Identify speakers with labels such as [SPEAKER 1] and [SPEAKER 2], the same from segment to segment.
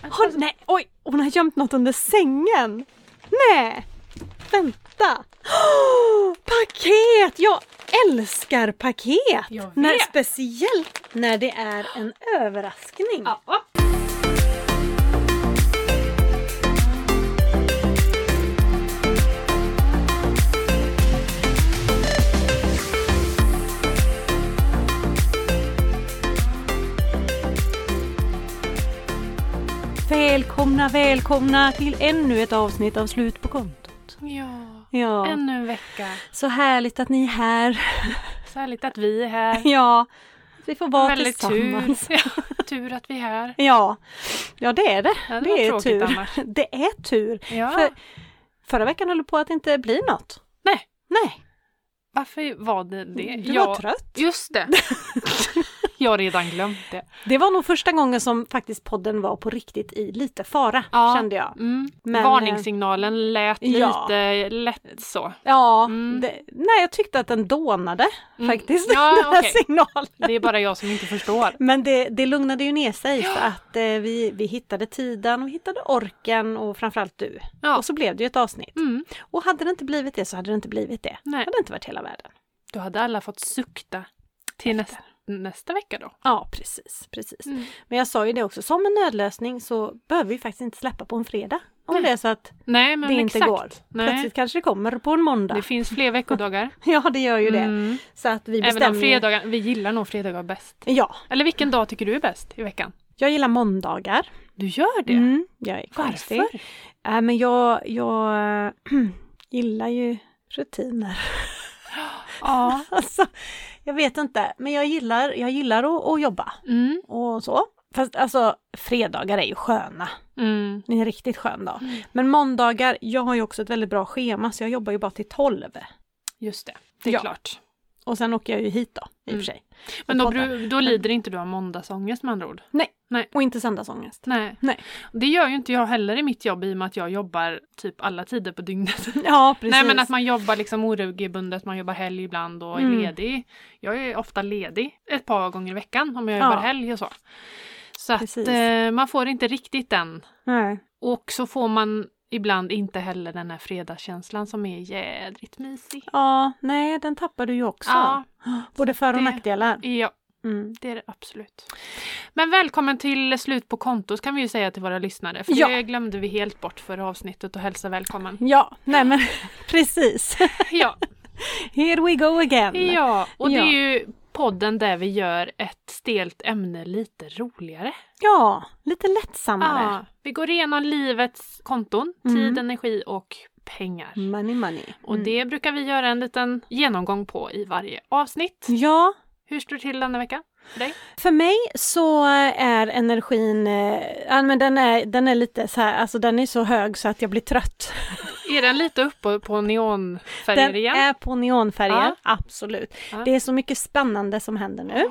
[SPEAKER 1] Alltså,
[SPEAKER 2] Har, nej, oj! Hon har gömt något under sängen! Nej! Vänta! Åh, paket! Jag älskar paket!
[SPEAKER 1] Jag vet.
[SPEAKER 2] När, speciellt när det är en överraskning.
[SPEAKER 1] Ja.
[SPEAKER 2] Välkomna, välkomna till ännu ett avsnitt av Slut på kontot.
[SPEAKER 1] ja.
[SPEAKER 2] Ja,
[SPEAKER 1] Ännu en vecka.
[SPEAKER 2] så härligt att ni är här.
[SPEAKER 1] Så härligt att vi är här.
[SPEAKER 2] Ja, vi får vara
[SPEAKER 1] Väldigt tur.
[SPEAKER 2] tillsammans.
[SPEAKER 1] Ja, tur att vi är här.
[SPEAKER 2] Ja. ja, det är det.
[SPEAKER 1] Ja, det
[SPEAKER 2] det
[SPEAKER 1] var
[SPEAKER 2] är
[SPEAKER 1] tråkigt
[SPEAKER 2] tur.
[SPEAKER 1] annars.
[SPEAKER 2] Det är tur.
[SPEAKER 1] Ja.
[SPEAKER 2] För förra veckan höll det på att inte bli något.
[SPEAKER 1] Nej,
[SPEAKER 2] Nej,
[SPEAKER 1] varför var det det?
[SPEAKER 2] Mm, du
[SPEAKER 1] jag...
[SPEAKER 2] var trött.
[SPEAKER 1] Just det. jag har redan glömt det.
[SPEAKER 2] Det var nog första gången som faktiskt podden var på riktigt i lite fara,
[SPEAKER 1] Ja.
[SPEAKER 2] kände jag.
[SPEAKER 1] Mm.
[SPEAKER 2] Men, eh,
[SPEAKER 1] Varningssignalen lät
[SPEAKER 2] ja.
[SPEAKER 1] lite lätt så.
[SPEAKER 2] Ja,
[SPEAKER 1] Mm.
[SPEAKER 2] det, nej jag tyckte att den dånade
[SPEAKER 1] Mm.
[SPEAKER 2] faktiskt,
[SPEAKER 1] Ja,
[SPEAKER 2] den här
[SPEAKER 1] okej.
[SPEAKER 2] signalen.
[SPEAKER 1] Det är bara jag som inte förstår.
[SPEAKER 2] Men det, det lugnade ju ner sig för att eh, vi, vi hittade tiden och vi hittade orken och framförallt du.
[SPEAKER 1] Ja.
[SPEAKER 2] Och så blev det ju ett avsnitt.
[SPEAKER 1] Mm.
[SPEAKER 2] Och hade det inte blivit det så hade det inte blivit det. Det
[SPEAKER 1] Nej.
[SPEAKER 2] hade inte varit hela världen.
[SPEAKER 1] Då hade alla fått sukta till nästa, nästa vecka då.
[SPEAKER 2] Ja, precis. precis.
[SPEAKER 1] Mm.
[SPEAKER 2] Men jag sa ju det också, som en nödlösning så behöver vi faktiskt inte släppa på en fredag. Om
[SPEAKER 1] Nej.
[SPEAKER 2] det är så att
[SPEAKER 1] Nej, men
[SPEAKER 2] det
[SPEAKER 1] exakt.
[SPEAKER 2] inte går.
[SPEAKER 1] Nej.
[SPEAKER 2] Plötsligt kanske det kommer på en måndag.
[SPEAKER 1] Det finns fler veckodagar.
[SPEAKER 2] Ja, det gör ju det.
[SPEAKER 1] Mm.
[SPEAKER 2] Så att vi
[SPEAKER 1] Även
[SPEAKER 2] bestämmer
[SPEAKER 1] om fredagar, vi gillar nog fredagar bäst.
[SPEAKER 2] Ja,
[SPEAKER 1] Eller vilken dag tycker du är bäst i veckan?
[SPEAKER 2] jag gillar måndagar.
[SPEAKER 1] Du gör det?
[SPEAKER 2] Mm, jag är konstig.
[SPEAKER 1] Varför?
[SPEAKER 2] Äh, men jag, jag äh, gillar ju rutiner.
[SPEAKER 1] Ja.
[SPEAKER 2] Alltså, jag vet inte, men jag gillar, jag gillar att, att jobba
[SPEAKER 1] Mm.
[SPEAKER 2] och så. Fast alltså, fredagar är ju sköna.
[SPEAKER 1] Mm.
[SPEAKER 2] Det är en riktigt skön dag. Men måndagar, jag har ju också ett väldigt bra schema så jag jobbar ju bara till 12.
[SPEAKER 1] Just det, det är
[SPEAKER 2] Ja.
[SPEAKER 1] klart.
[SPEAKER 2] Och sen åker jag ju hit då, i och
[SPEAKER 1] Mm.
[SPEAKER 2] för sig.
[SPEAKER 1] Men då,
[SPEAKER 2] Och poddar.
[SPEAKER 1] bru- då lider inte du av måndagsångest med andra ord?
[SPEAKER 2] Och inte söndagsångest.
[SPEAKER 1] Nej.
[SPEAKER 2] Nej.
[SPEAKER 1] Det gör ju inte jag heller i mitt jobb i och med att jag jobbar typ alla tider på dygnet.
[SPEAKER 2] Ja, precis.
[SPEAKER 1] Nej men att man jobbar liksom oregelbundet, man jobbar helg ibland och är
[SPEAKER 2] Mm.
[SPEAKER 1] ledig. Jag är ofta ledig ett par gånger i veckan om jag jobbar
[SPEAKER 2] Ja.
[SPEAKER 1] helg och så. Så att
[SPEAKER 2] Precis.
[SPEAKER 1] eh, man får inte riktigt den.
[SPEAKER 2] Nej.
[SPEAKER 1] Och så får man ibland inte heller den här fredagskänslan som är jädrigt mysig.
[SPEAKER 2] Ja, nej, den tappar du ju också.
[SPEAKER 1] Ja,
[SPEAKER 2] Både för och
[SPEAKER 1] det-
[SPEAKER 2] nackdelar.
[SPEAKER 1] ja,
[SPEAKER 2] Mm.
[SPEAKER 1] det är det absolut. Men välkommen till slut på kontot kan vi ju säga till våra lyssnare. För
[SPEAKER 2] Ja.
[SPEAKER 1] det glömde vi helt bort förra avsnittet och hälsa välkommen.
[SPEAKER 2] Ja, nej men precis.
[SPEAKER 1] Ja,
[SPEAKER 2] Here we go again.
[SPEAKER 1] ja. och det
[SPEAKER 2] Ja.
[SPEAKER 1] är ju podden där vi gör ett stelt ämne lite roligare.
[SPEAKER 2] Ja, lite lättsammare.
[SPEAKER 1] Ja, vi går igenom livets konton,
[SPEAKER 2] Mm.
[SPEAKER 1] tid, energi och pengar.
[SPEAKER 2] Money money.
[SPEAKER 1] Och
[SPEAKER 2] Mm.
[SPEAKER 1] det brukar vi göra en liten genomgång på i varje avsnitt.
[SPEAKER 2] Ja,
[SPEAKER 1] Hur står det till denna vecka för dig?
[SPEAKER 2] för mig så är energin, eh, ja, men den, är, den är lite så här, alltså den är så hög så att jag blir trött.
[SPEAKER 1] Är den lite uppe på neonfärger
[SPEAKER 2] Den
[SPEAKER 1] igen?
[SPEAKER 2] är på neonfärger,
[SPEAKER 1] Ja.
[SPEAKER 2] absolut.
[SPEAKER 1] Ja.
[SPEAKER 2] Det är så mycket spännande som händer nu.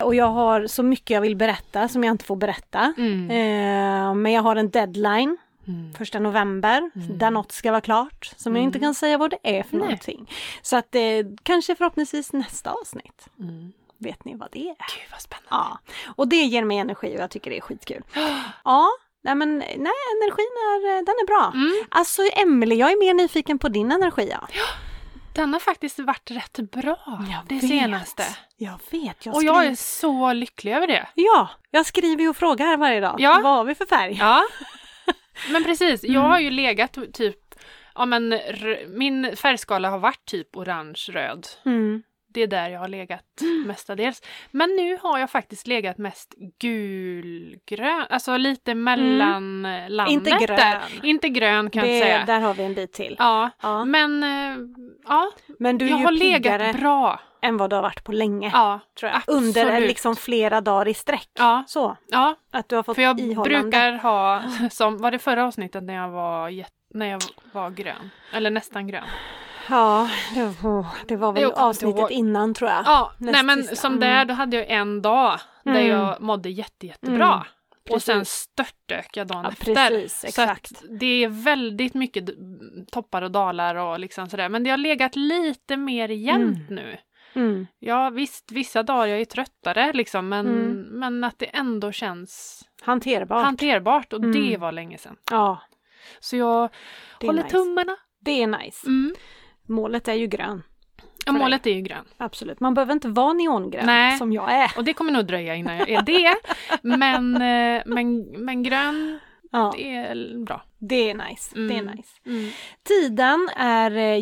[SPEAKER 2] Och jag har så mycket jag vill berätta som jag inte får berätta.
[SPEAKER 1] Mm.
[SPEAKER 2] Eh, men jag har en deadline,
[SPEAKER 1] Mm.
[SPEAKER 2] första november,
[SPEAKER 1] Mm.
[SPEAKER 2] där något ska vara klart. Som jag inte kan säga vad det är för
[SPEAKER 1] Nej.
[SPEAKER 2] någonting. Så att eh, kanske förhoppningsvis nästa avsnitt,
[SPEAKER 1] Mm.
[SPEAKER 2] vet ni vad det är?
[SPEAKER 1] Gud vad spännande.
[SPEAKER 2] Ja, och det ger mig energi och jag tycker det är skitkul. Ja, nej men nej, energin är, eh, den är bra.
[SPEAKER 1] Mm.
[SPEAKER 2] Alltså Emelie, jag är mer nyfiken på din energi. Ja.
[SPEAKER 1] Den har faktiskt varit rätt bra
[SPEAKER 2] Jag
[SPEAKER 1] det
[SPEAKER 2] vet.
[SPEAKER 1] senaste.
[SPEAKER 2] Jag vet, jag
[SPEAKER 1] Och jag är
[SPEAKER 2] skriver...
[SPEAKER 1] så lycklig över det.
[SPEAKER 2] Ja, jag skriver ju och frågar varje dag.
[SPEAKER 1] Ja.
[SPEAKER 2] Vad har vi för färg?
[SPEAKER 1] Ja. Men precis,
[SPEAKER 2] Mm.
[SPEAKER 1] jag har ju legat typ, ja men r- min färgskala har varit typ orange, röd.
[SPEAKER 2] Mm.
[SPEAKER 1] Det är där jag har legat mestadels. Men nu har jag faktiskt legat mest gulgrön, alltså lite mellan eh, landet
[SPEAKER 2] Mm. Inte grön.
[SPEAKER 1] där. Inte grön kan jag
[SPEAKER 2] Det,
[SPEAKER 1] inte säga.
[SPEAKER 2] där har vi en bit till.
[SPEAKER 1] Ja,
[SPEAKER 2] Ja.
[SPEAKER 1] men eh, ja,
[SPEAKER 2] Men du är
[SPEAKER 1] jag
[SPEAKER 2] ju
[SPEAKER 1] har
[SPEAKER 2] piggare
[SPEAKER 1] legat bra.
[SPEAKER 2] än vad du har varit på länge.
[SPEAKER 1] Ja,
[SPEAKER 2] tror jag.
[SPEAKER 1] absolut.
[SPEAKER 2] Under eh, liksom flera dagar i sträck.
[SPEAKER 1] ja,
[SPEAKER 2] Så,
[SPEAKER 1] ja,
[SPEAKER 2] att du har fått
[SPEAKER 1] för jag
[SPEAKER 2] ihållande.
[SPEAKER 1] brukar ha, som var det förra avsnittet när jag var, jätt- när jag var grön, eller nästan grön.
[SPEAKER 2] Ja, det var, det var väl
[SPEAKER 1] Jag kommer inte
[SPEAKER 2] avsnittet
[SPEAKER 1] ihåg.
[SPEAKER 2] innan tror jag.
[SPEAKER 1] Ja,
[SPEAKER 2] näst
[SPEAKER 1] nej men
[SPEAKER 2] sista.
[SPEAKER 1] som
[SPEAKER 2] Mm.
[SPEAKER 1] där, då hade jag en dag där
[SPEAKER 2] Mm.
[SPEAKER 1] jag mådde jätte, jättebra.
[SPEAKER 2] Mm,
[SPEAKER 1] Och sen
[SPEAKER 2] precis.
[SPEAKER 1] störtdök jag dagen
[SPEAKER 2] Ja,
[SPEAKER 1] efter.
[SPEAKER 2] precis,
[SPEAKER 1] Så att
[SPEAKER 2] exakt.
[SPEAKER 1] det är väldigt mycket d- toppar och dalar och liksom sådär. Men det har legat lite mer jämnt nu.
[SPEAKER 2] Mm.
[SPEAKER 1] Ja visst, vissa dagar jag är tröttare liksom, men,
[SPEAKER 2] Mm.
[SPEAKER 1] men att det ändå känns
[SPEAKER 2] Hanterbart.
[SPEAKER 1] hanterbart och
[SPEAKER 2] Mm.
[SPEAKER 1] det var länge sedan.
[SPEAKER 2] ja,
[SPEAKER 1] Så jag
[SPEAKER 2] det är
[SPEAKER 1] håller
[SPEAKER 2] nice.
[SPEAKER 1] tummarna.
[SPEAKER 2] Det är nice.
[SPEAKER 1] Mm.
[SPEAKER 2] Målet är ju grön.
[SPEAKER 1] Ja,
[SPEAKER 2] För
[SPEAKER 1] målet är ju grön.
[SPEAKER 2] Absolut. Man behöver inte vara neongrön
[SPEAKER 1] Nej.
[SPEAKER 2] som jag är.
[SPEAKER 1] Och det kommer nog dröja innan jag är det. Men, eh, men, men grön
[SPEAKER 2] Ja,
[SPEAKER 1] det är bra.
[SPEAKER 2] det är nice. Det är
[SPEAKER 1] Mm.
[SPEAKER 2] nice.
[SPEAKER 1] Mm.
[SPEAKER 2] Tiden är eh,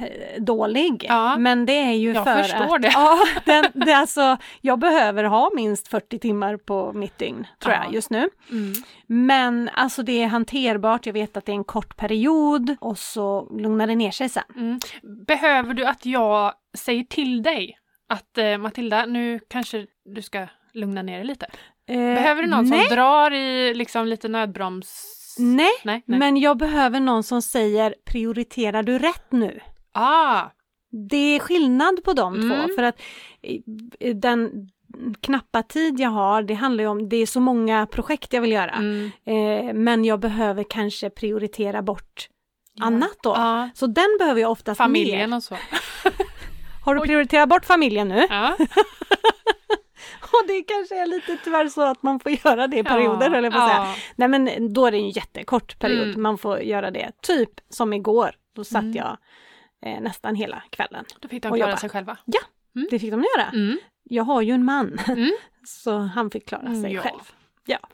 [SPEAKER 2] jättedålig.
[SPEAKER 1] Ja.
[SPEAKER 2] Men det är ju
[SPEAKER 1] Jag
[SPEAKER 2] för
[SPEAKER 1] förstår
[SPEAKER 2] att,
[SPEAKER 1] det.
[SPEAKER 2] Ja, den, det är alltså, jag behöver ha minst 40 timmar på mitt dygn, tror
[SPEAKER 1] Ja.
[SPEAKER 2] jag, just nu.
[SPEAKER 1] Mm.
[SPEAKER 2] Men alltså det är hanterbart, jag vet att det är en kort period och så lugnar det ner sig sen.
[SPEAKER 1] Mm. Behöver du att jag säger till dig att eh, Matilda, nu kanske du ska lugna ner dig lite? Behöver du någon
[SPEAKER 2] Eh, nej,
[SPEAKER 1] som drar i liksom lite nödbroms?
[SPEAKER 2] Nej,
[SPEAKER 1] Nej, nej.
[SPEAKER 2] men jag behöver någon som säger prioriterar du rätt nu?
[SPEAKER 1] Ah,
[SPEAKER 2] Det är skillnad på de
[SPEAKER 1] Mm.
[SPEAKER 2] två för att eh, den knappa tid jag har, det handlar ju om, det är så många projekt jag vill göra.
[SPEAKER 1] mm.
[SPEAKER 2] Eh, men jag behöver kanske prioritera bort
[SPEAKER 1] Ja.
[SPEAKER 2] annat då.
[SPEAKER 1] Ah,
[SPEAKER 2] Så den behöver jag oftast
[SPEAKER 1] familjen
[SPEAKER 2] mer.
[SPEAKER 1] och så.
[SPEAKER 2] Har du prioriterat bort familjen nu?
[SPEAKER 1] Ja.
[SPEAKER 2] Och det kanske är lite tyvärr så att man får göra det i perioder höll jag på att säga.
[SPEAKER 1] ja.
[SPEAKER 2] Nej men då är det en jättekort period
[SPEAKER 1] Mm.
[SPEAKER 2] man får göra det. Typ som igår, då satt
[SPEAKER 1] Mm.
[SPEAKER 2] jag eh, nästan hela kvällen.
[SPEAKER 1] Då fick de
[SPEAKER 2] Och
[SPEAKER 1] klara
[SPEAKER 2] jobba.
[SPEAKER 1] sig själva.
[SPEAKER 2] Det fick de göra.
[SPEAKER 1] Mm.
[SPEAKER 2] Jag har ju en man,
[SPEAKER 1] Mm.
[SPEAKER 2] så han fick klara sig
[SPEAKER 1] Ja.
[SPEAKER 2] själv.
[SPEAKER 1] Alltså,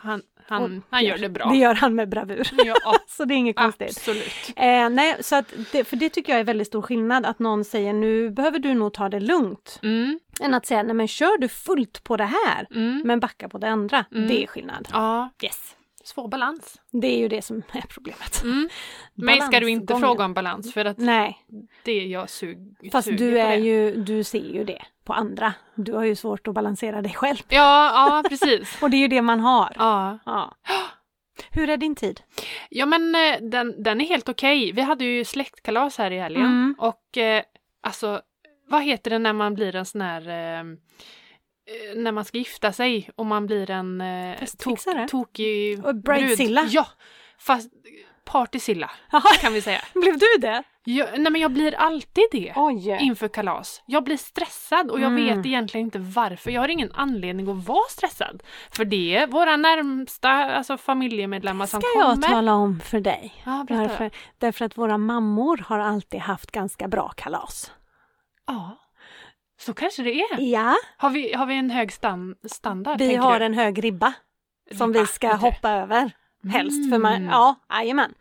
[SPEAKER 1] Han, han, han gör det bra.
[SPEAKER 2] Det gör han med bravur,
[SPEAKER 1] Ja,
[SPEAKER 2] så det är inget konstigt.
[SPEAKER 1] absolut.
[SPEAKER 2] Eh, nej, så att det, för det tycker jag är väldigt stor skillnad att någon säger nu behöver du nog ta det lugnt.
[SPEAKER 1] Mm,
[SPEAKER 2] Än att säga nej men kör du fullt på det här
[SPEAKER 1] mm.
[SPEAKER 2] men backa på det andra.
[SPEAKER 1] Mm.
[SPEAKER 2] Det är skillnad.
[SPEAKER 1] Ja,
[SPEAKER 2] Yes.
[SPEAKER 1] svår balans.
[SPEAKER 2] Det är ju det som är problemet.
[SPEAKER 1] Mm. Mig ska du inte
[SPEAKER 2] Balansgången.
[SPEAKER 1] fråga om balans för att
[SPEAKER 2] Nej,
[SPEAKER 1] det är jag sug,
[SPEAKER 2] fast
[SPEAKER 1] suger
[SPEAKER 2] du,
[SPEAKER 1] på
[SPEAKER 2] är
[SPEAKER 1] det.
[SPEAKER 2] ju, du ser ju det på andra. Du har ju svårt att balansera dig själv.
[SPEAKER 1] Ja, ja precis.
[SPEAKER 2] Och det är ju det man har.
[SPEAKER 1] Ja.
[SPEAKER 2] Ja. Hur är din tid?
[SPEAKER 1] ja, men eh, den, den är helt okej. Vi hade ju släktkalas här i helgen
[SPEAKER 2] Mm.
[SPEAKER 1] och eh, alltså, vad heter det när man blir en sån här eh, eh, när man ska gifta sig och man blir en eh,
[SPEAKER 2] Festfixare?
[SPEAKER 1] tok, tokig
[SPEAKER 2] Och bridezilla?
[SPEAKER 1] brud. Ja, fast partyzilla
[SPEAKER 2] Jaha,
[SPEAKER 1] kan vi säga.
[SPEAKER 2] blev du det?
[SPEAKER 1] Jag, nej men jag blir alltid det
[SPEAKER 2] Oj!
[SPEAKER 1] inför kalas. Jag blir stressad och jag
[SPEAKER 2] Mm.
[SPEAKER 1] vet egentligen inte varför. Jag har ingen anledning att vara stressad. För det är våra närmsta alltså familjemedlemmar som
[SPEAKER 2] Ska jag
[SPEAKER 1] kommer.
[SPEAKER 2] tala om för dig?
[SPEAKER 1] Ja, berätta.
[SPEAKER 2] Varför? Därför att våra mammor har alltid haft ganska bra kalas.
[SPEAKER 1] Ja. Så kanske det är.
[SPEAKER 2] Ja,
[SPEAKER 1] Har vi, har vi en hög stan, standard?
[SPEAKER 2] vi
[SPEAKER 1] tänker
[SPEAKER 2] har
[SPEAKER 1] du?
[SPEAKER 2] en hög ribba som
[SPEAKER 1] Ribba,
[SPEAKER 2] vi ska
[SPEAKER 1] heter det.
[SPEAKER 2] hoppa över. Helst, för man,
[SPEAKER 1] Mm.
[SPEAKER 2] ja, jajamän.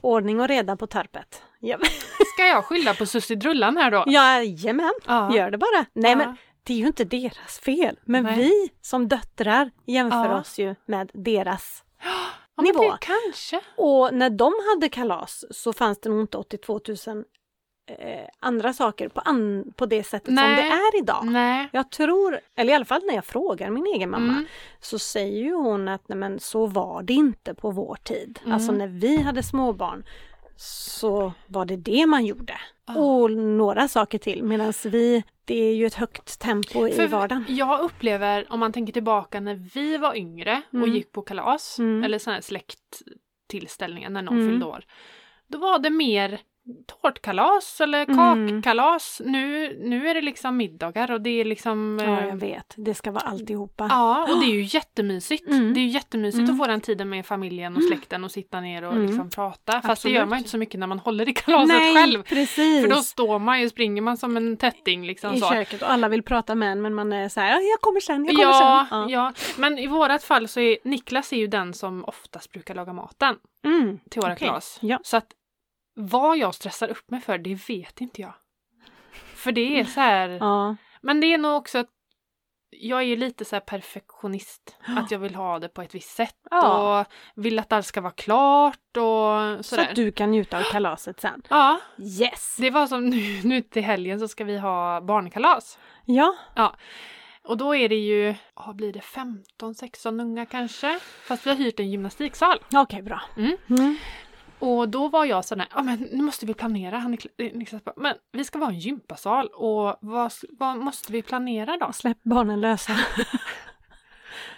[SPEAKER 2] Ordning och reda på torpet. Ja,
[SPEAKER 1] Ska jag skylla på Sussidrullan här då?
[SPEAKER 2] Jajamän,
[SPEAKER 1] Ja.
[SPEAKER 2] gör det bara. Nej
[SPEAKER 1] Ja.
[SPEAKER 2] men det är ju inte deras fel. Men
[SPEAKER 1] Nej.
[SPEAKER 2] vi som döttrar jämför
[SPEAKER 1] Ja.
[SPEAKER 2] oss ju med deras.
[SPEAKER 1] ja, men
[SPEAKER 2] nivå.
[SPEAKER 1] Det, kanske.
[SPEAKER 2] Och när de hade kalas så fanns det nog inte 82 000 eh, andra saker på, an, på det sättet
[SPEAKER 1] Nej.
[SPEAKER 2] som det är idag.
[SPEAKER 1] Nej.
[SPEAKER 2] Jag tror, eller i alla fall när jag frågar min egen mamma,
[SPEAKER 1] Mm.
[SPEAKER 2] så säger ju hon att nej men så var det inte på vår tid.
[SPEAKER 1] Mm.
[SPEAKER 2] Alltså när vi hade småbarn så var det det man gjorde.
[SPEAKER 1] Ah.
[SPEAKER 2] Och några saker till medan vi, det är ju ett högt tempo i
[SPEAKER 1] För
[SPEAKER 2] vardagen.
[SPEAKER 1] Jag upplever, om man tänker tillbaka när vi var yngre och
[SPEAKER 2] Mm.
[SPEAKER 1] gick på kalas,
[SPEAKER 2] Mm.
[SPEAKER 1] eller sådana här släkttillställningar när någon
[SPEAKER 2] Mm.
[SPEAKER 1] fyllde år, då var det mer tårtkalas eller
[SPEAKER 2] Mm.
[SPEAKER 1] kakkalas. Nu, nu är det liksom middagar och det är liksom...
[SPEAKER 2] Ja,
[SPEAKER 1] eh,
[SPEAKER 2] jag vet. Det ska vara alltihopa.
[SPEAKER 1] ja och det är ju jättemysigt.
[SPEAKER 2] Mm.
[SPEAKER 1] Det är ju jättemysigt
[SPEAKER 2] Mm.
[SPEAKER 1] att få den tiden med familjen och släkten och sitta ner och
[SPEAKER 2] Mm.
[SPEAKER 1] liksom prata. Fast
[SPEAKER 2] Absolut.
[SPEAKER 1] det gör man ju inte så mycket när man håller i kalaset
[SPEAKER 2] Nej,
[SPEAKER 1] själv.
[SPEAKER 2] precis.
[SPEAKER 1] För då står man ju, springer man som en tätting liksom
[SPEAKER 2] I
[SPEAKER 1] så.
[SPEAKER 2] köket och alla vill prata med en men man är så här, "Ja, jag kommer sen, jag kommer
[SPEAKER 1] Ja,
[SPEAKER 2] sen.
[SPEAKER 1] ja. men i vårat fall så är Niklas är ju den som oftast brukar laga maten
[SPEAKER 2] Mm.
[SPEAKER 1] till våra
[SPEAKER 2] Okej,
[SPEAKER 1] kalas.
[SPEAKER 2] ja.
[SPEAKER 1] Så att vad jag stressar upp mig för, det vet inte jag. För det är så här,
[SPEAKER 2] ja.
[SPEAKER 1] men det är nog också att jag är ju lite så här perfektionist, att jag vill ha det på ett visst sätt
[SPEAKER 2] Ja.
[SPEAKER 1] och vill att allt ska vara klart och
[SPEAKER 2] Så
[SPEAKER 1] sådär.
[SPEAKER 2] att du kan njuta av kalaset sen.
[SPEAKER 1] Ja,
[SPEAKER 2] Yes!
[SPEAKER 1] det var som nu, nu till helgen så ska vi ha barnkalas.
[SPEAKER 2] Ja,
[SPEAKER 1] Och då är det ju, ja, blir det 15-16 unga kanske? Fast vi har hyrt en gymnastiksal.
[SPEAKER 2] okej bra.
[SPEAKER 1] Mm.
[SPEAKER 2] Mm.
[SPEAKER 1] Och då var jag sån här, ja men nu måste vi planera. Han Niklas- eh, Niklas bara, men vi ska vara en gympasal och vad, s- vad måste vi planera då?
[SPEAKER 2] Släpp barnen lösa.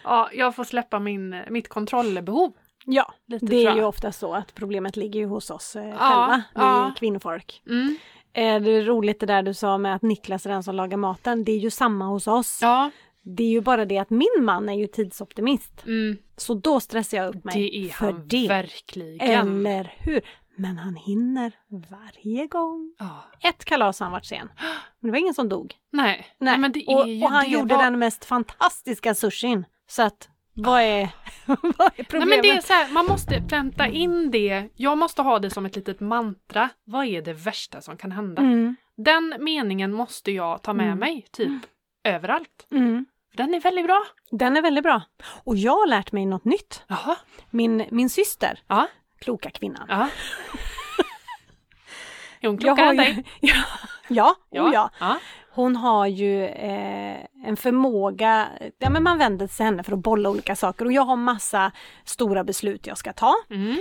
[SPEAKER 1] Ja, jag får släppa min, mitt kontrollbehov.
[SPEAKER 2] Ja,
[SPEAKER 1] Lite,
[SPEAKER 2] det är
[SPEAKER 1] tror
[SPEAKER 2] ju
[SPEAKER 1] jag.
[SPEAKER 2] ofta så att problemet ligger ju hos oss eh,
[SPEAKER 1] Ja,
[SPEAKER 2] själva, vi
[SPEAKER 1] ja.
[SPEAKER 2] kvinnofolk.
[SPEAKER 1] Mm.
[SPEAKER 2] eh, det är roligt det där du sa med att Niklas är den som lagar maten. Det är ju samma hos oss.
[SPEAKER 1] Ja.
[SPEAKER 2] Det är ju bara det att min man är ju tidsoptimist.
[SPEAKER 1] Mm.
[SPEAKER 2] Så då stressar jag upp mig
[SPEAKER 1] Det är
[SPEAKER 2] för
[SPEAKER 1] han
[SPEAKER 2] det.
[SPEAKER 1] verkligen.
[SPEAKER 2] Eller hur? Men han hinner varje gång.
[SPEAKER 1] Ja.
[SPEAKER 2] Ett kalas har han varit sen. Men det var ingen som dog.
[SPEAKER 1] Nej.
[SPEAKER 2] Nej.
[SPEAKER 1] men det är
[SPEAKER 2] och,
[SPEAKER 1] ju
[SPEAKER 2] och han
[SPEAKER 1] det
[SPEAKER 2] gjorde
[SPEAKER 1] vad-
[SPEAKER 2] den mest fantastiska sushin. Så att vad är, vad är problemet?
[SPEAKER 1] Nej, men det är så här, man måste pränta in det. Jag måste ha det som ett litet mantra. Vad är det värsta som kan hända?
[SPEAKER 2] mm,
[SPEAKER 1] Den meningen måste jag ta med
[SPEAKER 2] Mm.
[SPEAKER 1] mig, typ överallt.
[SPEAKER 2] mm.
[SPEAKER 1] Den är väldigt bra.
[SPEAKER 2] Den är väldigt bra. Och jag har lärt mig något nytt.
[SPEAKER 1] Jaha.
[SPEAKER 2] Min, min syster,
[SPEAKER 1] Ja.
[SPEAKER 2] kloka kvinnan.
[SPEAKER 1] ja. Är hon
[SPEAKER 2] Jag
[SPEAKER 1] klokare
[SPEAKER 2] har
[SPEAKER 1] än dig?
[SPEAKER 2] ju, ja, ja, ja. ja.
[SPEAKER 1] ja.
[SPEAKER 2] Hon har ju eh, en förmåga, ja men man vänder sig till henne för att bolla olika saker och jag har massa stora beslut jag ska ta.
[SPEAKER 1] Mm.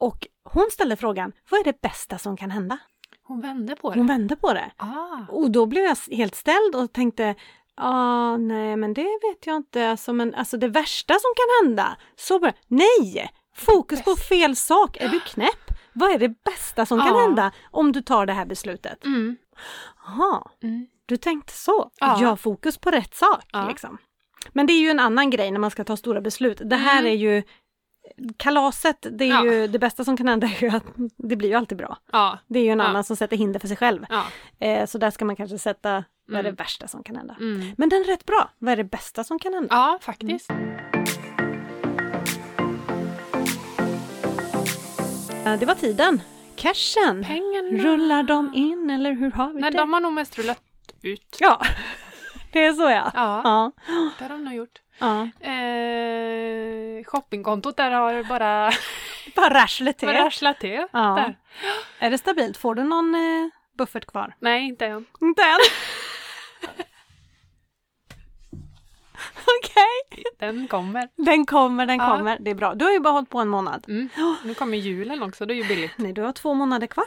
[SPEAKER 2] Och hon ställde frågan, vad är det bästa som kan hända?
[SPEAKER 1] Hon vände på det.
[SPEAKER 2] Hon vände på det.
[SPEAKER 1] Ah.
[SPEAKER 2] Och då blev jag s- helt ställd och tänkte, ah, nej men det vet jag inte, alltså, men, alltså det värsta som kan hända, så bara, nej! Fokus på fel sak, är du knäpp? Vad är det bästa som kan
[SPEAKER 1] Ja.
[SPEAKER 2] hända om du tar det här beslutet?
[SPEAKER 1] Mm.
[SPEAKER 2] Jaha,
[SPEAKER 1] Mm.
[SPEAKER 2] du tänkte så.
[SPEAKER 1] Ja.
[SPEAKER 2] Jag har fokus på rätt sak.
[SPEAKER 1] Ja.
[SPEAKER 2] Liksom. Men det är ju en annan grej när man ska ta stora beslut. Det här
[SPEAKER 1] Mm.
[SPEAKER 2] är ju kalaset, det är
[SPEAKER 1] Ja.
[SPEAKER 2] ju det bästa som kan hända är ju att det blir ju alltid bra.
[SPEAKER 1] Ja.
[SPEAKER 2] Det är ju en
[SPEAKER 1] Ja.
[SPEAKER 2] annan som sätter hinder för sig själv.
[SPEAKER 1] ja.
[SPEAKER 2] Eh, så där ska man kanske sätta, vad är det
[SPEAKER 1] Mm.
[SPEAKER 2] värsta som kan hända?
[SPEAKER 1] Mm.
[SPEAKER 2] Men den är rätt bra. Vad är det bästa som kan hända?
[SPEAKER 1] Ja, faktiskt.
[SPEAKER 2] Mm. Eh, Det var tiden. Cashen.
[SPEAKER 1] Pengarna.
[SPEAKER 2] Rullar de in eller hur har vi
[SPEAKER 1] Nej,
[SPEAKER 2] det?
[SPEAKER 1] de har nog mest rullat ut.
[SPEAKER 2] Ja, det är så ja.
[SPEAKER 1] Ja,
[SPEAKER 2] Ja.
[SPEAKER 1] det har de nog gjort.
[SPEAKER 2] ja.
[SPEAKER 1] Eh, shoppingkontot där har bara,
[SPEAKER 2] Bara arslet till.
[SPEAKER 1] bara rasslat till.
[SPEAKER 2] Ja.
[SPEAKER 1] Där.
[SPEAKER 2] Är det stabilt? Får du någon eh, buffert kvar?
[SPEAKER 1] Nej, inte än.
[SPEAKER 2] Inte än. Okej.
[SPEAKER 1] Den kommer.
[SPEAKER 2] Den kommer, den
[SPEAKER 1] Ja.
[SPEAKER 2] kommer. Det är bra. Du har ju bara hållit på en månad.
[SPEAKER 1] Mm. Nu kommer julen också, det är ju billigt.
[SPEAKER 2] Nej, du har två månader kvar.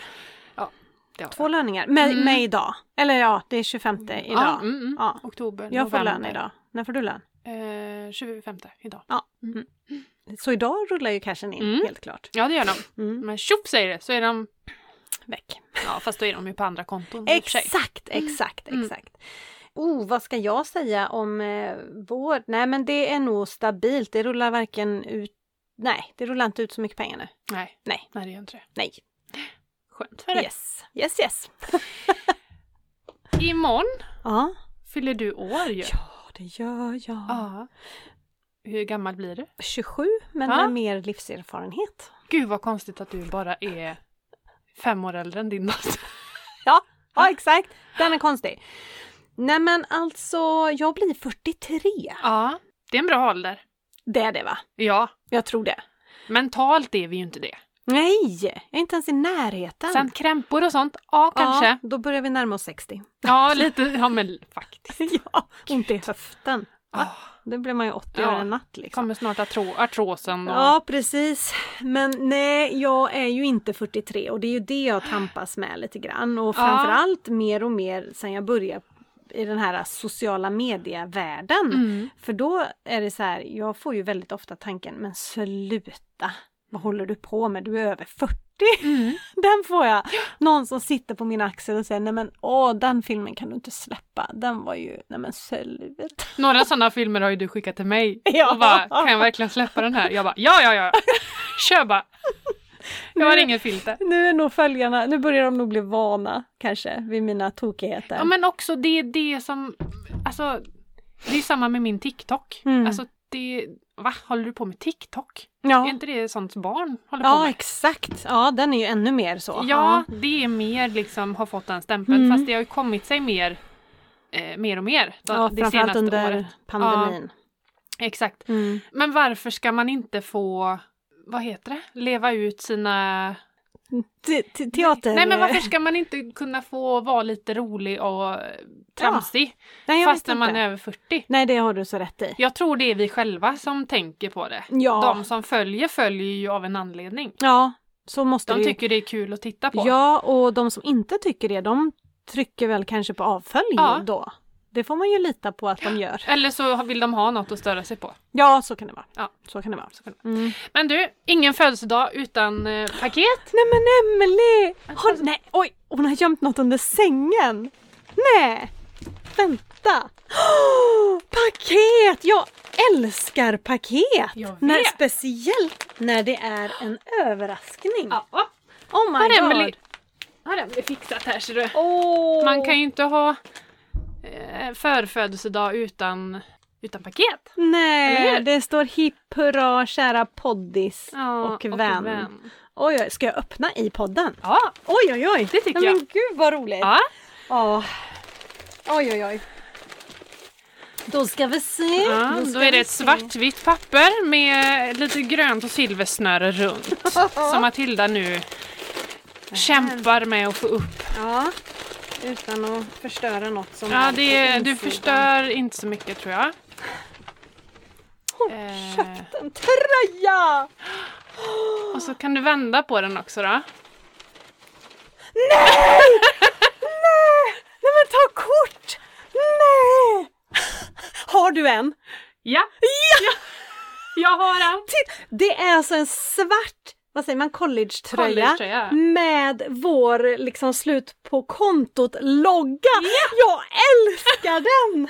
[SPEAKER 1] Det har
[SPEAKER 2] Två löningar. Med,
[SPEAKER 1] Mm.
[SPEAKER 2] med idag. Eller ja, det är 25 idag.
[SPEAKER 1] jag. Ja, mm, mm.
[SPEAKER 2] Ja.
[SPEAKER 1] Oktober,
[SPEAKER 2] Jag får lön
[SPEAKER 1] november.
[SPEAKER 2] idag. När får du lön?
[SPEAKER 1] Eh, 25 idag.
[SPEAKER 2] Så idag rullar ju cashen in,
[SPEAKER 1] Mm.
[SPEAKER 2] helt klart.
[SPEAKER 1] Ja, det gör de.
[SPEAKER 2] Mm.
[SPEAKER 1] Men tjoff säger det, så är de...
[SPEAKER 2] Väck.
[SPEAKER 1] Ja, fast då är de ju på andra konton i och för sig.
[SPEAKER 2] Exakt, exakt,
[SPEAKER 1] Mm.
[SPEAKER 2] exakt. Oh, vad ska jag säga om eh, vår? Nej, men det är nog stabilt. Det rullar varken ut... Nej, det rullar inte ut så mycket pengar nu.
[SPEAKER 1] Nej.
[SPEAKER 2] Nej.
[SPEAKER 1] Nej, det gör inte det.
[SPEAKER 2] Nej.
[SPEAKER 1] Skönt för dig.
[SPEAKER 2] Yes. Yes, yes.
[SPEAKER 1] Imorgon
[SPEAKER 2] Ja.
[SPEAKER 1] fyller du år ju.
[SPEAKER 2] Ja, det gör jag.
[SPEAKER 1] Ja. Hur gammal blir du?
[SPEAKER 2] 27, men
[SPEAKER 1] Ja.
[SPEAKER 2] med mer livserfarenhet.
[SPEAKER 1] Gud vad konstigt att du bara är fem år äldre än din dotter.
[SPEAKER 2] Ja, exakt. Den är konstig. Nej, men alltså, jag blir 43.
[SPEAKER 1] Ja, det är en bra ålder.
[SPEAKER 2] Det är det, va?
[SPEAKER 1] Ja,
[SPEAKER 2] Jag tror det.
[SPEAKER 1] mentalt är vi ju inte det.
[SPEAKER 2] Nej, jag är inte ens i närheten.
[SPEAKER 1] Sen krämpor och sånt, ja kanske.
[SPEAKER 2] Ja, då börjar vi närma oss 60.
[SPEAKER 1] Ja, lite, ja men faktiskt.
[SPEAKER 2] ja, ont i höften.
[SPEAKER 1] Ah,
[SPEAKER 2] Då blir man ju 80
[SPEAKER 1] Ja,
[SPEAKER 2] över en natt liksom.
[SPEAKER 1] kommer snart artro, artrosen och...
[SPEAKER 2] Ja, precis. Men nej, jag är ju inte 43 och det är ju det jag tampas med lite grann. Och
[SPEAKER 1] Ja.
[SPEAKER 2] framförallt mer och mer sen jag började i den här sociala medievärlden.
[SPEAKER 1] Mm.
[SPEAKER 2] För då är det så här, jag får ju väldigt ofta tanken, men sluta! Vad håller du på med? Du är över 40!
[SPEAKER 1] Mm.
[SPEAKER 2] Den får jag! Någon som sitter på min axel och säger, nej men åh, den filmen kan du inte släppa. Den var ju, nej men sluta!
[SPEAKER 1] Några sådana filmer har ju du skickat till mig.
[SPEAKER 2] Ja.
[SPEAKER 1] Och bara, kan jag verkligen släppa den här? Jag bara, ja, ja, ja. Kör bara. Jag har
[SPEAKER 2] Nu-
[SPEAKER 1] ingen filter.
[SPEAKER 2] Nu är nog följarna, nu börjar de nog bli vana kanske vid mina tokigheter.
[SPEAKER 1] Ja men också det är det som, alltså det är ju samma med min TikTok.
[SPEAKER 2] Mm.
[SPEAKER 1] Alltså det, va? Håller du på med TikTok? Är
[SPEAKER 2] ja.
[SPEAKER 1] inte det sånt barn håller på
[SPEAKER 2] ja
[SPEAKER 1] med?
[SPEAKER 2] exakt, ja den är ju ännu mer så.
[SPEAKER 1] Ja, det är mer liksom har fått den stämpeln
[SPEAKER 2] Mm.
[SPEAKER 1] fast det har ju kommit sig mer, eh, mer och mer de,
[SPEAKER 2] ja
[SPEAKER 1] det
[SPEAKER 2] framförallt
[SPEAKER 1] senaste
[SPEAKER 2] under
[SPEAKER 1] året.
[SPEAKER 2] pandemin.
[SPEAKER 1] Exakt.
[SPEAKER 2] Mm.
[SPEAKER 1] Men varför ska man inte få, vad heter det, leva ut sina...
[SPEAKER 2] Te- te- Teater...
[SPEAKER 1] Nej men varför ska man inte kunna få vara lite rolig och eh, tramsig
[SPEAKER 2] Nej, jag
[SPEAKER 1] fast
[SPEAKER 2] vet
[SPEAKER 1] när man
[SPEAKER 2] inte.
[SPEAKER 1] är över 40?
[SPEAKER 2] Nej, det har du så rätt i.
[SPEAKER 1] Jag tror det är vi själva som tänker på det.
[SPEAKER 2] Ja,
[SPEAKER 1] De som följer följer ju av en anledning.
[SPEAKER 2] ja så måste
[SPEAKER 1] De
[SPEAKER 2] det ju.
[SPEAKER 1] tycker det är kul att titta på.
[SPEAKER 2] Ja, och de som inte tycker det, de trycker väl kanske på avfölj
[SPEAKER 1] Ja.
[SPEAKER 2] då. Det får man ju lita på att de gör.
[SPEAKER 1] Eller så vill de ha något att störa sig på.
[SPEAKER 2] Ja, så kan det vara.
[SPEAKER 1] Ja.
[SPEAKER 2] Så kan det vara.
[SPEAKER 1] Så kan det
[SPEAKER 2] Mm.
[SPEAKER 1] Men du, ingen födelsedag utan eh, paket.
[SPEAKER 2] Nej men Emily!
[SPEAKER 1] Alltså,
[SPEAKER 2] Har, nej, oj! Hon har gömt något under sängen! Nej! Vänta! Åh, paket! Jag älskar paket!
[SPEAKER 1] Jag vet.
[SPEAKER 2] När, speciellt när det är en överraskning.
[SPEAKER 1] Ja,
[SPEAKER 2] Oh my
[SPEAKER 1] har
[SPEAKER 2] god!
[SPEAKER 1] Emily, har Emily fixat här ser du.
[SPEAKER 2] Åh.
[SPEAKER 1] Man kan ju inte ha eh, förfödelsedag utan, utan paket. Eller
[SPEAKER 2] Nej,
[SPEAKER 1] hur?
[SPEAKER 2] det står hipp hurra kära poddis
[SPEAKER 1] Ja,
[SPEAKER 2] och, vän. Oj, oj, ska jag öppna i podden?
[SPEAKER 1] Ja,
[SPEAKER 2] Oj, oj, oj!
[SPEAKER 1] Det tycker
[SPEAKER 2] Nej,
[SPEAKER 1] jag.
[SPEAKER 2] Men gud vad roligt!
[SPEAKER 1] ja.
[SPEAKER 2] Ja. Oj, oj, oj. Då ska vi se.
[SPEAKER 1] ja. Då
[SPEAKER 2] ska
[SPEAKER 1] är det
[SPEAKER 2] vi
[SPEAKER 1] ett
[SPEAKER 2] se.
[SPEAKER 1] svartvitt papper med lite grönt och silversnöre runt. Som Matilda nu kämpar med att få upp.
[SPEAKER 2] Ja. Utan att förstöra något som
[SPEAKER 1] Ja,
[SPEAKER 2] är
[SPEAKER 1] det
[SPEAKER 2] på
[SPEAKER 1] är, du
[SPEAKER 2] insidan.
[SPEAKER 1] förstör inte så mycket tror jag.
[SPEAKER 2] Hon
[SPEAKER 1] Eh.
[SPEAKER 2] köpte en tröja!
[SPEAKER 1] Och så kan du vända på den också då.
[SPEAKER 2] Nej men ta kort! Nej! Har du en?
[SPEAKER 1] Ja! ja. Jag har den!
[SPEAKER 2] Titt- Det är alltså en svart, vad säger man, collegetröja
[SPEAKER 1] Collegetröja.
[SPEAKER 2] med vår liksom slut på kontot-logga. Jag älskar den!